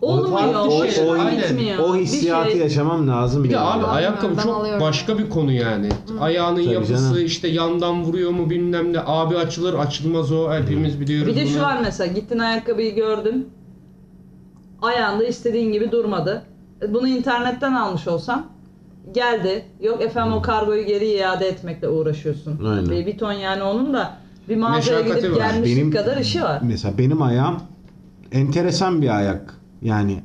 Speaker 1: Olmuyor.
Speaker 3: farklı
Speaker 1: O,
Speaker 3: şeyler,
Speaker 1: o,
Speaker 3: aynen.
Speaker 1: gitmiyor.
Speaker 4: O
Speaker 1: Bir
Speaker 4: hissiyatı
Speaker 1: şey-
Speaker 4: yaşamam lazım.
Speaker 3: bir de
Speaker 4: benim
Speaker 3: abi
Speaker 4: ya.
Speaker 3: ayakkabı
Speaker 2: Ben
Speaker 3: çok
Speaker 2: alıyorum.
Speaker 3: başka bir konu yani. Ayağının
Speaker 4: Tabii
Speaker 3: yapısı
Speaker 4: canım.
Speaker 3: işte yandan vuruyor mu bilmem ne. Abi açılır açılmaz o hepimiz biliyoruz
Speaker 1: Bir de
Speaker 3: bunu.
Speaker 1: şu var mesela gittin ayakkabıyı gördün. Ayağında istediğin gibi durmadı. E, Bunu internetten almış olsam geldi. Yok efendim o kargoyu geri iade etmekle uğraşıyorsun.
Speaker 4: Aynen.
Speaker 1: Bir, bir ton yani onun da bir mağazaya
Speaker 3: Meşakkatı
Speaker 1: gidip
Speaker 3: var.
Speaker 1: gelmişlik
Speaker 4: Benim-
Speaker 1: kadar işi var.
Speaker 4: Mesela benim ayağım enteresan bir ayak. Yani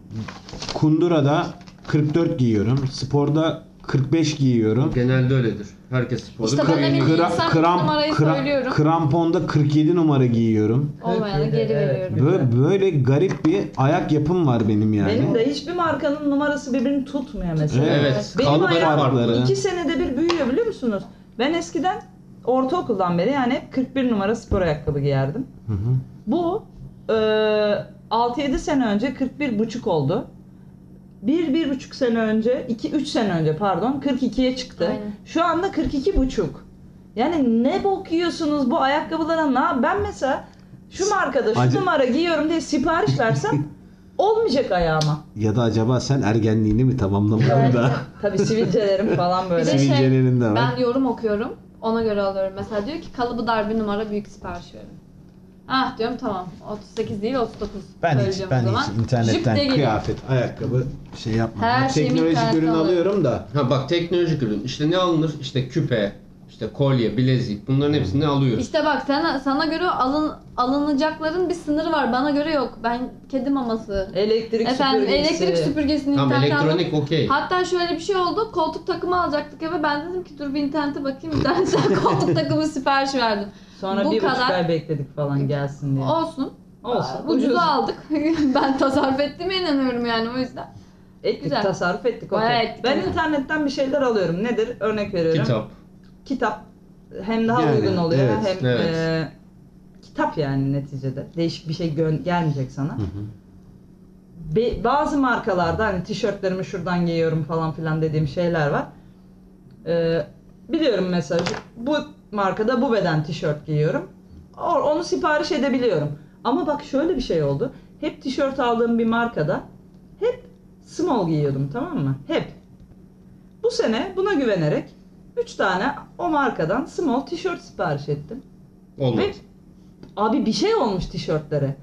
Speaker 4: kundurada 44 giyiyorum. Sporda 45 giyiyorum.
Speaker 3: Genelde öyledir. Herkes sporda.
Speaker 2: İşte ben
Speaker 3: böyle
Speaker 2: de bir-
Speaker 3: giyiyor.
Speaker 4: Kra-
Speaker 2: hani insan
Speaker 4: kram-
Speaker 2: numarayı
Speaker 4: kra-
Speaker 2: söylüyorum.
Speaker 4: kramponda 47 numara giyiyorum.
Speaker 2: Olmayanı geri
Speaker 1: Evet.
Speaker 2: veriyorum.
Speaker 4: Böyle, böyle garip bir ayak yapım var benim yani.
Speaker 1: Benim de hiçbir markanın numarası birbirini tutmuyor mesela.
Speaker 3: Evet.
Speaker 1: Benim
Speaker 3: kalıpları
Speaker 1: ayağım
Speaker 3: farklı.
Speaker 4: farkları.
Speaker 1: İki senede bir büyüyor biliyor musunuz? Ben eskiden ortaokuldan beri yani hep 41 numara spor ayakkabı giyerdim.
Speaker 4: Hı hı.
Speaker 1: Bu e, 6-7 sene önce 41,5 oldu. 1-1,5 sene önce, 2-3 sene önce pardon 42'ye çıktı.
Speaker 2: Aynen.
Speaker 1: Şu anda 42,5. Yani ne bok yiyorsunuz bu ayakkabılara? Ne? Ben mesela şu markada şu
Speaker 4: Acı-
Speaker 1: numara giyiyorum diye sipariş versem olmayacak ayağıma.
Speaker 4: Ya da acaba sen ergenliğini mi tamamlamadın da?
Speaker 1: Tabii sivilcelerim falan
Speaker 2: Bir
Speaker 4: [laughs]
Speaker 1: böyle.
Speaker 2: de şey,
Speaker 4: Sivilcelerinde var.
Speaker 2: ben yorum okuyorum. Ona göre alıyorum. Mesela diyor ki kalıbı dar bir numara büyük sipariş verin. Ah diyorum tamam. 38 değil 39.
Speaker 4: Ben hiç,
Speaker 2: söyleyeceğim o
Speaker 4: ben
Speaker 2: zaman.
Speaker 4: hiç
Speaker 2: Jip de
Speaker 4: internetten
Speaker 2: geliyor.
Speaker 4: kıyafet, ayakkabı şey yapmam.
Speaker 2: Her
Speaker 4: Ben
Speaker 2: şeyimi
Speaker 4: teknolojik
Speaker 2: internetten
Speaker 4: ürün
Speaker 2: alıyorum.
Speaker 4: alıyorum da.
Speaker 3: Ha bak teknolojik ürün. İşte ne alınır? İşte küpe, işte kolye, bilezik. Bunların hepsini alıyoruz.
Speaker 2: İşte bak sana, sana göre alın, alınacakların bir sınırı var. Bana göre yok. Ben kedi maması.
Speaker 1: Elektrik
Speaker 2: Efendim
Speaker 1: süpürgesi.
Speaker 2: elektrik süpürgesini
Speaker 3: Tam
Speaker 2: internetten alıp-
Speaker 3: elektronik okey.
Speaker 2: Hatta şöyle bir şey oldu. Koltuk takımı alacaktık eve. Ben dedim ki dur bir internete bakayım.
Speaker 4: [laughs]
Speaker 2: İnternetten koltuk takımı sipariş verdim.
Speaker 1: Sonra
Speaker 2: Bu
Speaker 1: bir buçuk
Speaker 2: kadar.
Speaker 1: ay bekledik falan gelsin diye.
Speaker 2: Olsun.
Speaker 1: Olsun.
Speaker 2: Ucuza
Speaker 1: ucuz.
Speaker 2: aldık. [laughs] ben tasarruf ettiğime inanıyorum yani o yüzden.
Speaker 1: Ettik
Speaker 2: E, Güzel.
Speaker 1: tasarruf ettik. okey.
Speaker 2: Bayağı ettik,
Speaker 1: Ben
Speaker 2: evet.
Speaker 1: internetten bir şeyler alıyorum. Nedir? Örnek veriyorum.
Speaker 3: Kitap.
Speaker 1: Kitap. Hem daha
Speaker 4: Yani,
Speaker 1: uygun oluyor
Speaker 4: evet,
Speaker 1: hem
Speaker 3: evet.
Speaker 1: e, kitap yani neticede. Değişik bir şey gö- gelmeyecek sana.
Speaker 4: Hı hı.
Speaker 1: Be- bazı markalarda hani tişörtlerimi şuradan giyiyorum falan filan dediğim şeyler var. E, biliyorum mesela bu markada bu beden tişört giyiyorum. O- onu sipariş edebiliyorum. Ama bak şöyle bir şey oldu. Hep tişört aldığım bir markada hep small giyiyordum tamam mı? Hep. Bu sene buna güvenerek 3 tane o markadan small tişört sipariş ettim.
Speaker 3: Olmadı.
Speaker 1: Ve abi bir şey olmuş tişörtlere.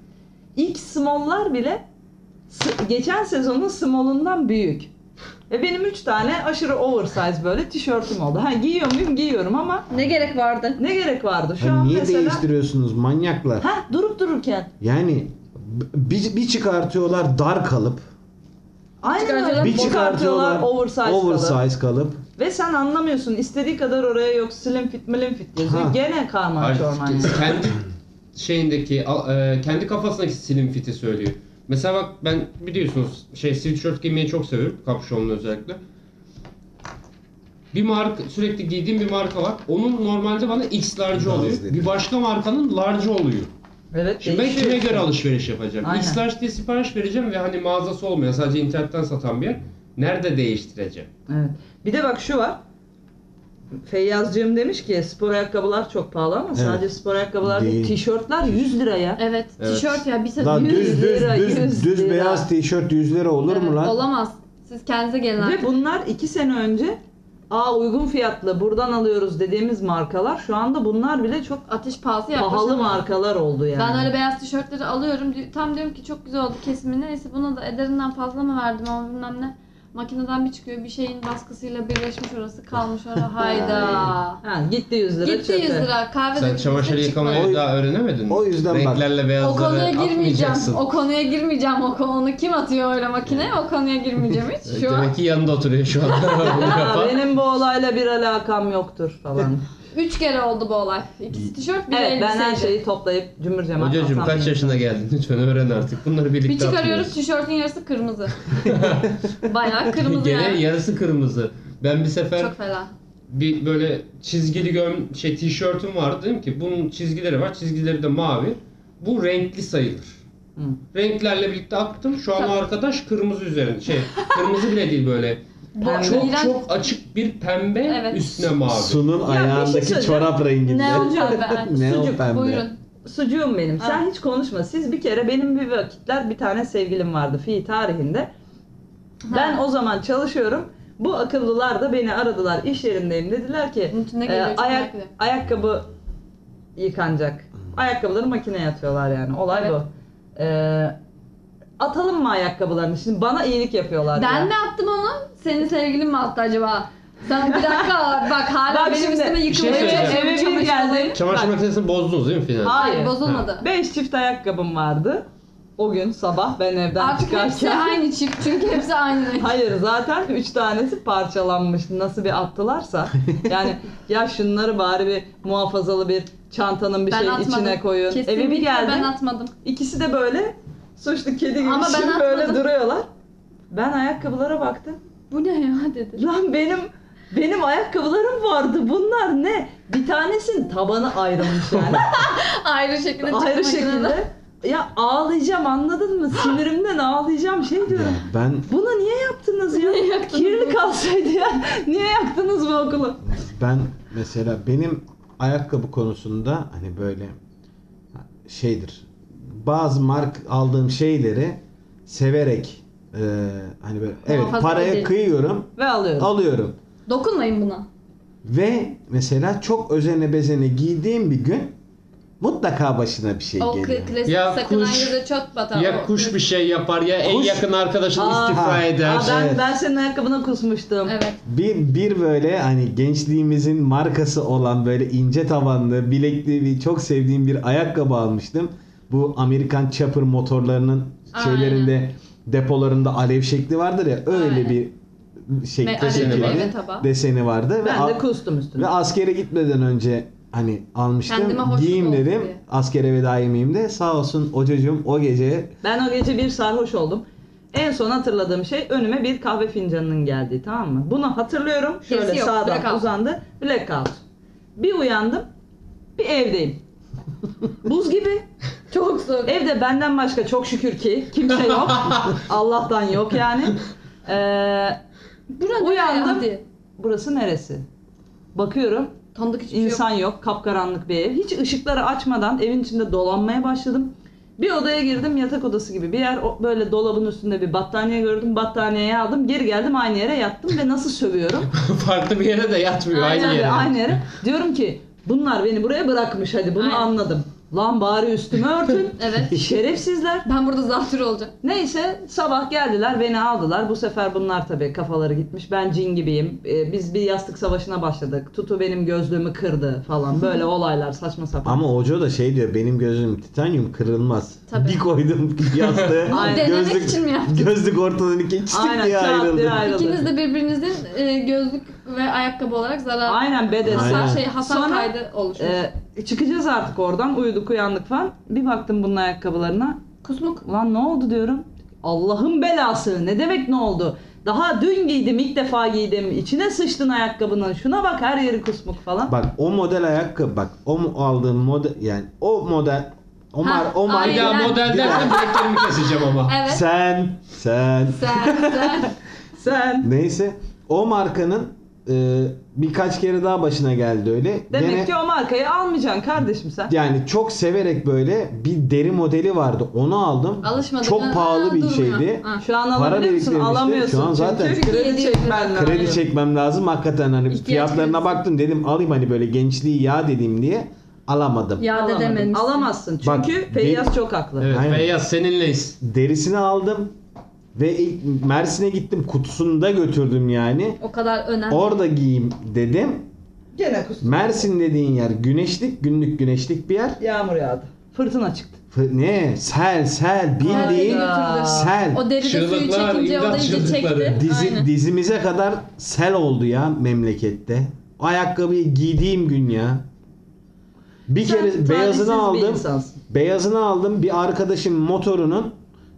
Speaker 1: İlk small'lar bile s- geçen sezonun small'undan büyük. Ve benim 3 tane aşırı oversize böyle tişörtüm oldu. Ha giyiyor muyum? Giyiyorum ama
Speaker 2: Ne gerek vardı?
Speaker 1: ne gerek vardı? Şu
Speaker 4: Hani
Speaker 1: an
Speaker 4: niye
Speaker 1: mesela
Speaker 4: değiştiriyorsunuz manyaklar?
Speaker 1: ha durup dururken
Speaker 4: Yani b- bir, bir çıkartıyorlar dar kalıp,
Speaker 1: aynen öyle
Speaker 2: çıkartıyorlar,
Speaker 4: bir çıkartıyorlar
Speaker 1: oversize, oversize
Speaker 4: oversize kalıp.
Speaker 1: Ve sen anlamıyorsun. istediği kadar oraya yok slim fit milim fit
Speaker 4: Ha.
Speaker 1: yazıyor. Gene karman
Speaker 3: Hayır,
Speaker 1: çorman. yani.
Speaker 3: kendi şeyindeki, a- e, kendi kafasındaki slim fit'i söylüyor. Mesela bak ben biliyorsunuz şey sweatshirt giymeyi çok seviyorum. Kapşonlu özellikle. Bir marka, sürekli giydiğim bir marka var. Onun normalde bana X large
Speaker 4: Large
Speaker 3: oluyor.
Speaker 4: dedi.
Speaker 3: Bir başka markanın large oluyor.
Speaker 1: Evet.
Speaker 3: Şimdi ben
Speaker 1: değişiyor
Speaker 3: kime
Speaker 1: işte.
Speaker 3: göre alışveriş yapacağım?
Speaker 1: Aynen.
Speaker 3: X large diye sipariş vereceğim ve hani mağazası olmayan sadece internetten satan bir yer. Nerede değiştireceğim?
Speaker 1: Evet. Bir de bak şu var. Feyyazcığım demiş ki spor ayakkabılar çok pahalı ama sadece spor ayakkabılar değil.
Speaker 4: Değil.
Speaker 1: Tişörtler 100 lira ya.
Speaker 2: Evet,
Speaker 3: Evet.
Speaker 2: tişört ya bir sefer
Speaker 4: Daha
Speaker 1: Yüz
Speaker 4: düz düz
Speaker 1: lira, yüz
Speaker 4: düz düz
Speaker 1: lira.
Speaker 4: beyaz tişört 100 lira olur mu lan?
Speaker 2: Olamaz. Siz kendinize gelin
Speaker 1: Ve
Speaker 2: artık.
Speaker 1: bunlar 2 sene önce aa uygun fiyatlı buradan alıyoruz dediğimiz markalar şu anda bunlar bile çok
Speaker 2: Ateş pahası yaklaşık.
Speaker 1: pahalı markalar oldu yani.
Speaker 2: Ben öyle beyaz tişörtleri alıyorum. Di- Tam diyorum ki çok güzel oldu kesimini. Neyse buna da ederinden fazla mı verdim ama bilmem ne. Makineden bir çıkıyor. Bir şeyin baskısıyla birleşmiş orası kalmış
Speaker 1: [laughs]
Speaker 2: orada. Hayda.
Speaker 1: Ha, gitti 100 lira
Speaker 2: Gitti 100
Speaker 1: çöpe.
Speaker 2: lira. Kahve
Speaker 3: Sen
Speaker 2: dökümüzde
Speaker 3: çamaşır
Speaker 2: çıkmadı.
Speaker 3: yıkamayı daha öğrenemedin mi?
Speaker 4: O yüzden bak.
Speaker 3: Renklerle beyazları
Speaker 2: O konuya girmeyeceğim.
Speaker 3: atmayacaksın.
Speaker 2: O konuya girmeyeceğim. O konu kim atıyor öyle makineye? O konuya girmeyeceğim
Speaker 3: [laughs]
Speaker 2: hiç. Şu an
Speaker 3: Demek ki yanında
Speaker 2: [laughs]
Speaker 3: oturuyor şu anda. Bunu
Speaker 1: [laughs] Ha,
Speaker 3: yapan.
Speaker 1: benim bu olayla bir alakam yoktur
Speaker 2: [laughs]
Speaker 1: falan.
Speaker 2: 3 kere oldu bu olay. İkisi tişört, biri
Speaker 1: evet ben her
Speaker 2: elbiseydi.
Speaker 1: şeyi toplayıp cümbür cemaat
Speaker 3: Hocacığım
Speaker 1: atan
Speaker 3: kaç
Speaker 1: bir
Speaker 3: yaşına geldin? Lütfen öğren artık. Bunları birlikte
Speaker 2: Bir çıkarıyoruz
Speaker 3: atıyoruz.
Speaker 2: tişörtün yarısı
Speaker 3: [laughs]
Speaker 2: kırmızı. Bayağı kırmızı
Speaker 3: Gene
Speaker 2: yani.
Speaker 3: yarısı kırmızı. Ben bir sefer
Speaker 2: Çok fena.
Speaker 3: bir böyle çizgili göm şey tişörtüm vardı dedim ki bunun çizgileri var. Çizgileri de mavi. Bu renkli sayılır.
Speaker 1: Hı.
Speaker 3: Renklerle birlikte attım. Şu an o
Speaker 2: Tabii.
Speaker 3: arkadaş kırmızı üzerinde. Şey, kırmızı bile değil böyle.
Speaker 1: Ben
Speaker 2: Bu
Speaker 3: Çok
Speaker 2: iğrenç-
Speaker 3: çok açık bir pembe
Speaker 2: Evet.
Speaker 3: üstüne mavi.
Speaker 4: Sunun
Speaker 1: şey
Speaker 4: ayağındaki
Speaker 1: söyleyeceğim.
Speaker 4: çorap renginde. [laughs]
Speaker 2: Neon pembe.
Speaker 4: Neon
Speaker 1: Sucuk,
Speaker 4: pembe.
Speaker 2: Buyurun.
Speaker 1: Sucuğum benim.
Speaker 2: Ha.
Speaker 1: Sen hiç konuşma. Siz bir kere benim bir vakitler bir tane sevgilim vardı fi tarihinde. Ben o zaman çalışıyorum. Bu akıllılar da beni aradılar. İş yerindeyim. Dediler ki
Speaker 2: Bunun içinde
Speaker 1: e,
Speaker 2: geliyor, çok
Speaker 1: ayak,
Speaker 2: merak ediyorum.
Speaker 1: ayakkabı yıkanacak. Ayakkabıları makineye atıyorlar yani. Olay
Speaker 2: Evet.
Speaker 1: bu. E, atalım mı ayakkabılarını? Şimdi bana iyilik yapıyorlar. ya.
Speaker 2: Ben mi attım onu? Senin sevgilin mi attı acaba? Sen bir
Speaker 1: [laughs]
Speaker 2: dakika bak hala
Speaker 1: Bak
Speaker 2: benim
Speaker 1: şimdi,
Speaker 2: üstüme
Speaker 1: bir şey
Speaker 2: yıkılmaya
Speaker 3: söyleyeceğim.
Speaker 2: çalışıyorum.
Speaker 1: Eve bir
Speaker 2: Çamaşır
Speaker 1: geldim.
Speaker 2: alayım.
Speaker 3: Çamaşır
Speaker 1: Bak.
Speaker 3: makinesini bozdunuz değil mi finalde?
Speaker 2: Hayır
Speaker 1: Hayır.
Speaker 2: bozulmadı.
Speaker 1: Beş çift ayakkabım vardı. O gün sabah ben evden
Speaker 2: Artık
Speaker 1: çıkarken. şey
Speaker 2: hepsi aynı çift çünkü hepsi aynı renk.
Speaker 1: Hayır zaten üç tanesi parçalanmış. Nasıl bir attılarsa. Yani ya şunları bari bir muhafazalı bir çantanın bir
Speaker 2: ben
Speaker 1: şeyin
Speaker 2: atmadım.
Speaker 1: içine koyun.
Speaker 2: Kesinlikle
Speaker 1: Eve bir geldim.
Speaker 2: ben atmadım.
Speaker 1: İkisi de böyle suçlu kedi gibi
Speaker 2: Ama ben
Speaker 1: şimdi böyle
Speaker 2: atmadım.
Speaker 1: duruyorlar. Ben ayakkabılara baktım.
Speaker 2: Bu ne ya dedi.
Speaker 1: Lan benim benim ayakkabılarım vardı. Bunlar ne? Bir tanesinin tabanı ayrılmış yani.
Speaker 2: Ayrı şekilde çıkmak
Speaker 1: Ayrı
Speaker 2: üzere.
Speaker 1: şekilde. Ya ağlayacağım anladın mı? Sinirimden ağlayacağım şey
Speaker 4: Ya
Speaker 1: diyorum.
Speaker 4: ben
Speaker 1: Bunu niye yaptınız ya?
Speaker 2: Niye yaktınız
Speaker 1: Kirli
Speaker 2: bu?
Speaker 1: kalsaydı ya. Niye yaktınız bu okulu?
Speaker 4: ben mesela benim ayakkabı konusunda hani böyle şeydir. Bazı mark aldığım şeyleri severek e, hani böyle evet
Speaker 2: Muhafaza
Speaker 4: paraya
Speaker 2: edeyim.
Speaker 4: kıyıyorum,
Speaker 1: Ve alıyorum.
Speaker 4: alıyorum.
Speaker 2: Dokunmayın buna.
Speaker 4: Ve mesela çok özene bezene giydiğim bir gün mutlaka başına bir şey
Speaker 2: O
Speaker 4: geliyor.
Speaker 2: kla- klasik
Speaker 3: Ya
Speaker 2: sakınan
Speaker 3: kuş-
Speaker 2: göze çöp batar.
Speaker 3: Ya
Speaker 2: O-
Speaker 3: kuş bir şey yapar ya en
Speaker 4: Kuş-
Speaker 3: yakın arkadaşın
Speaker 1: Aa,
Speaker 3: istifra
Speaker 4: ha.
Speaker 3: eder.
Speaker 1: Aa, ben,
Speaker 4: Evet.
Speaker 1: ben senin ayakkabına kusmuştum.
Speaker 2: Evet.
Speaker 4: Bir, bir böyle hani gençliğimizin markası olan böyle ince tabanlı, bilekli bir çok sevdiğim bir ayakkabı almıştım. Bu Amerikan Chopper motorlarının
Speaker 2: Aynen.
Speaker 4: şeylerinde depolarında alev şekli vardır ya öyle
Speaker 2: Aynen.
Speaker 4: bir
Speaker 2: Me-
Speaker 4: şekli
Speaker 2: alev
Speaker 4: şekilde
Speaker 2: meyve tabağı.
Speaker 4: deseni vardı ve,
Speaker 1: Ben de
Speaker 4: a-
Speaker 1: kustum üstüne.
Speaker 4: ve askere gitmeden önce hani almıştım
Speaker 2: Kendime hoşnut
Speaker 4: giyeyim
Speaker 2: olsun
Speaker 4: dedim
Speaker 2: diye.
Speaker 4: askere veda yemeğimde sağ olsun hocacığım o gece
Speaker 1: Ben o gece bir sarhoş oldum. En son hatırladığım şey önüme bir kahve fincanının geldiği tamam mı? Bunu hatırlıyorum. Şöyle
Speaker 2: Kesi yok,
Speaker 1: sağdan
Speaker 2: blackout.
Speaker 1: uzandı. Blackout. Bir uyandım. Bir evdeyim. Buz gibi.
Speaker 2: Çok soğuk.
Speaker 1: Evde benden başka çok şükür ki kimse yok. Allah'tan yok yani. Ee,
Speaker 2: Burada
Speaker 1: Uyandım.
Speaker 2: uyandım. Hadi.
Speaker 1: burası neresi? Bakıyorum
Speaker 2: Tanıdık hiçbir şey yok.
Speaker 1: İnsan yok, kapkaranlık bir ev. Hiç ışıkları açmadan evin içinde dolanmaya başladım. Bir odaya girdim, yatak odası gibi bir yer. O- Böyle dolabın üstünde bir battaniye gördüm, battaniyeyi aldım. Geri geldim, aynı yere yattım ve nasıl sövüyorum?
Speaker 3: [laughs] Farklı bir yere de yatmıyor
Speaker 2: Aynen,
Speaker 3: aynı
Speaker 1: Ve
Speaker 3: yere.
Speaker 1: aynı yere. Diyorum ki, bunlar beni buraya bırakmış hadi bunu
Speaker 2: Aynen.
Speaker 1: anladım. Lan bari üstümü örtün.
Speaker 2: Evet.
Speaker 1: Şerefsizler.
Speaker 2: Ben burada zatürre olacağım.
Speaker 1: Neyse sabah geldiler beni aldılar. Bu sefer bunlar tabii kafaları gitmiş. Ben cin gibiyim. Ee, biz bir yastık savaşına başladık. Tutu benim gözlüğümü kırdı falan. Böyle olaylar saçma sapan.
Speaker 4: ama hoca da şey diyor benim gözüm titanyum kırılmaz.
Speaker 2: Tabii.
Speaker 4: Bir koydum [laughs] yastığı
Speaker 2: Bunu
Speaker 1: Aynen.
Speaker 2: denemek için mi yaptın?
Speaker 4: Gözlük ortadan iki çitik
Speaker 1: Aynen,
Speaker 4: diye
Speaker 1: çat diye
Speaker 4: ayrıldı.
Speaker 1: ayrıldı.
Speaker 2: İkiniz de birbirinizin e, gözlük ve ayakkabı olarak zarar
Speaker 1: Aynen bedes.
Speaker 4: Aynen.
Speaker 2: hasar, şey, hasar
Speaker 1: Sonra,
Speaker 2: kaydı oluşmuş.
Speaker 1: Ee, çıkacağız artık oradan. Uyuduk uyandık falan. Bir baktım bunun ayakkabılarına.
Speaker 2: Kusmuk.
Speaker 1: Lan ne oldu diyorum. Allah'ın belası. Ne demek ne oldu? Daha dün giydim ilk defa giydim. İçine sıçtın ayakkabının. Şuna bak her yeri kusmuk falan.
Speaker 4: Bak o model ayakkabı bak o mu- aldığım model yani o model o,
Speaker 2: Ha,
Speaker 4: mar, o marka
Speaker 3: Bir daha
Speaker 2: Aynen.
Speaker 3: model dersen bileklerimi keseceğim ama.
Speaker 2: Evet.
Speaker 4: sen sen [laughs]
Speaker 2: Sen, sen.
Speaker 1: Sen
Speaker 4: neyse o markanın e, birkaç kere daha başına geldi öyle.
Speaker 1: Demek
Speaker 4: Gene-
Speaker 1: ki o markayı almayacaksın kardeşim sen.
Speaker 4: yani çok severek böyle bir deri modeli vardı. Onu aldım.
Speaker 2: Alışmadık. Ha,
Speaker 4: Çok pahalı bir
Speaker 2: durmuyor.
Speaker 4: şeydi.
Speaker 2: Ha.
Speaker 1: Şu an
Speaker 4: Para
Speaker 1: alabilir misin?
Speaker 4: biriktirmişti.
Speaker 1: Alamıyorsun.
Speaker 4: Şu an zaten-
Speaker 1: Çünkü kredi çekmen lazım.
Speaker 4: Kredi çekmem lazım hakikaten hani
Speaker 2: İhtiyaç
Speaker 4: fiyatlarına
Speaker 2: kredisi.
Speaker 4: baktım dedim alayım hani böyle gençliği ya dediğim diye alamadım.
Speaker 2: Yad
Speaker 1: Alamadın.
Speaker 2: edememişsin.
Speaker 1: Alamazsın.
Speaker 4: Bak,
Speaker 1: Çünkü
Speaker 4: bir-
Speaker 1: Feyyaz çok haklı.
Speaker 3: Evet
Speaker 4: Aynen.
Speaker 3: Feyyaz seninleyiz.
Speaker 4: Derisini aldım ve ilk Mersin'e gittim kutusunu da götürdüm yani.
Speaker 2: O kadar önemli.
Speaker 4: Orada giyeyim dedim.
Speaker 1: Gene kustum.
Speaker 4: Mersin dediğin yer güneşlik günlük güneşlik bir yer.
Speaker 1: Yağmur yağdı. Fırtına çıktı.
Speaker 4: F- Ne sel sel
Speaker 2: Her yeri
Speaker 4: bildiğin
Speaker 2: götürdü.
Speaker 4: sel.
Speaker 2: O deride suyu
Speaker 3: Çığlıklar,
Speaker 2: çekince o da
Speaker 3: imdat
Speaker 2: iyice
Speaker 3: çığlıkları.
Speaker 2: çekti.
Speaker 4: Dizi,
Speaker 2: Aynen.
Speaker 4: dizimize kadar sel oldu ya memlekette. O ayakkabıyı giydiğim gün ya. Bir
Speaker 1: Sen
Speaker 4: kere
Speaker 1: talihsiz bir
Speaker 4: beyazını aldım.
Speaker 1: insansın.
Speaker 4: Beyazını aldım. Bir arkadaşım motorunun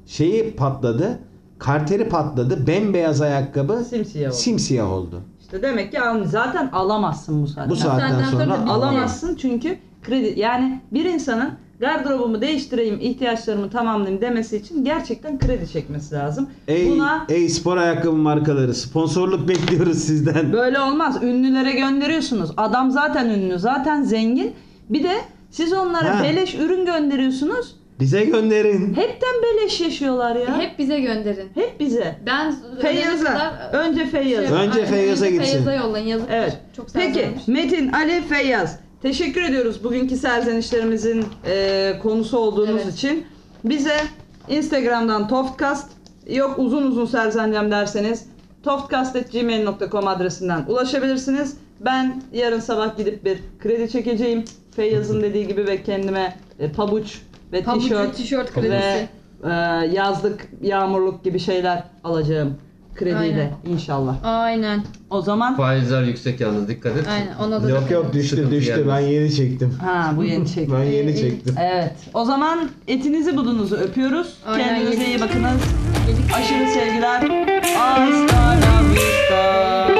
Speaker 4: şeyi patladı. Karteri patladı. Bembeyaz ayakkabı
Speaker 1: Simsiyah oldu.
Speaker 4: simsiyah oldu.
Speaker 1: İşte demek ki al- zaten alamazsın bu saatten.
Speaker 4: Bu saatten
Speaker 2: Senden
Speaker 4: sonra
Speaker 2: sonra bir-
Speaker 4: alamaz.
Speaker 1: Alamazsın çünkü kredi yani bir insanın gardırobumu değiştireyim, ihtiyaçlarımı tamamlayayım demesi için gerçekten kredi çekmesi lazım.
Speaker 4: Ey,
Speaker 1: Buna
Speaker 4: ey spor ayakkabı markaları sponsorluk bekliyoruz sizden.
Speaker 1: böyle olmaz. Ünlülere gönderiyorsunuz. Adam zaten ünlü, zaten zengin. Bir de siz onlara
Speaker 4: Ha.
Speaker 1: beleş ürün gönderiyorsunuz.
Speaker 4: Bize gönderin.
Speaker 1: Hepten beleş yaşıyorlar ya. Hep,
Speaker 2: Hep bize gönderin.
Speaker 1: bize.
Speaker 2: Ben ölene
Speaker 1: Feyyaz'a.
Speaker 2: kadar- Şey,
Speaker 1: Önce Feyyaz'a.
Speaker 4: Önce
Speaker 2: Aynen,
Speaker 4: Feyyaz'a gitsin.
Speaker 2: Feyyaz'a yollayın yazık.
Speaker 1: Evet.
Speaker 2: Çok sağ
Speaker 1: Peki
Speaker 2: olun.
Speaker 1: Metin, Ali, Feyyaz. Teşekkür ediyoruz bugünkü serzenişlerimizin e, konusu olduğunuz
Speaker 2: Evet.
Speaker 1: için. Bize Instagram'dan Toftcast, yok uzun uzun serzenlem derseniz toftcast.gmail.com adresinden ulaşabilirsiniz. Ben yarın sabah gidip bir kredi çekeceğim. Feyyaz'ın dediği gibi ve kendime e, pabuç ve
Speaker 2: Pabuç ve
Speaker 1: tişört
Speaker 2: tişört
Speaker 1: ve
Speaker 2: kredisi.
Speaker 1: e, yazlık, yağmurluk gibi şeyler alacağım krediyle inşallah.
Speaker 2: Aynen.
Speaker 1: O zaman
Speaker 3: Faizler yüksek yalnız dikkat et.
Speaker 2: Aynen. Ona da
Speaker 4: Yok yok düştü
Speaker 3: Sıkıntı
Speaker 4: düştü ben
Speaker 3: gelmez.
Speaker 4: yeni çektim.
Speaker 1: ha bu yeni çekim.
Speaker 4: Ben yeni çektim.
Speaker 1: Evet. O zaman etinizi budunuzu öpüyoruz.
Speaker 2: Aynen,
Speaker 1: Kendinize
Speaker 2: yedik.
Speaker 1: iyi bakınız. Aşırı sevgiler. Hasta la vista.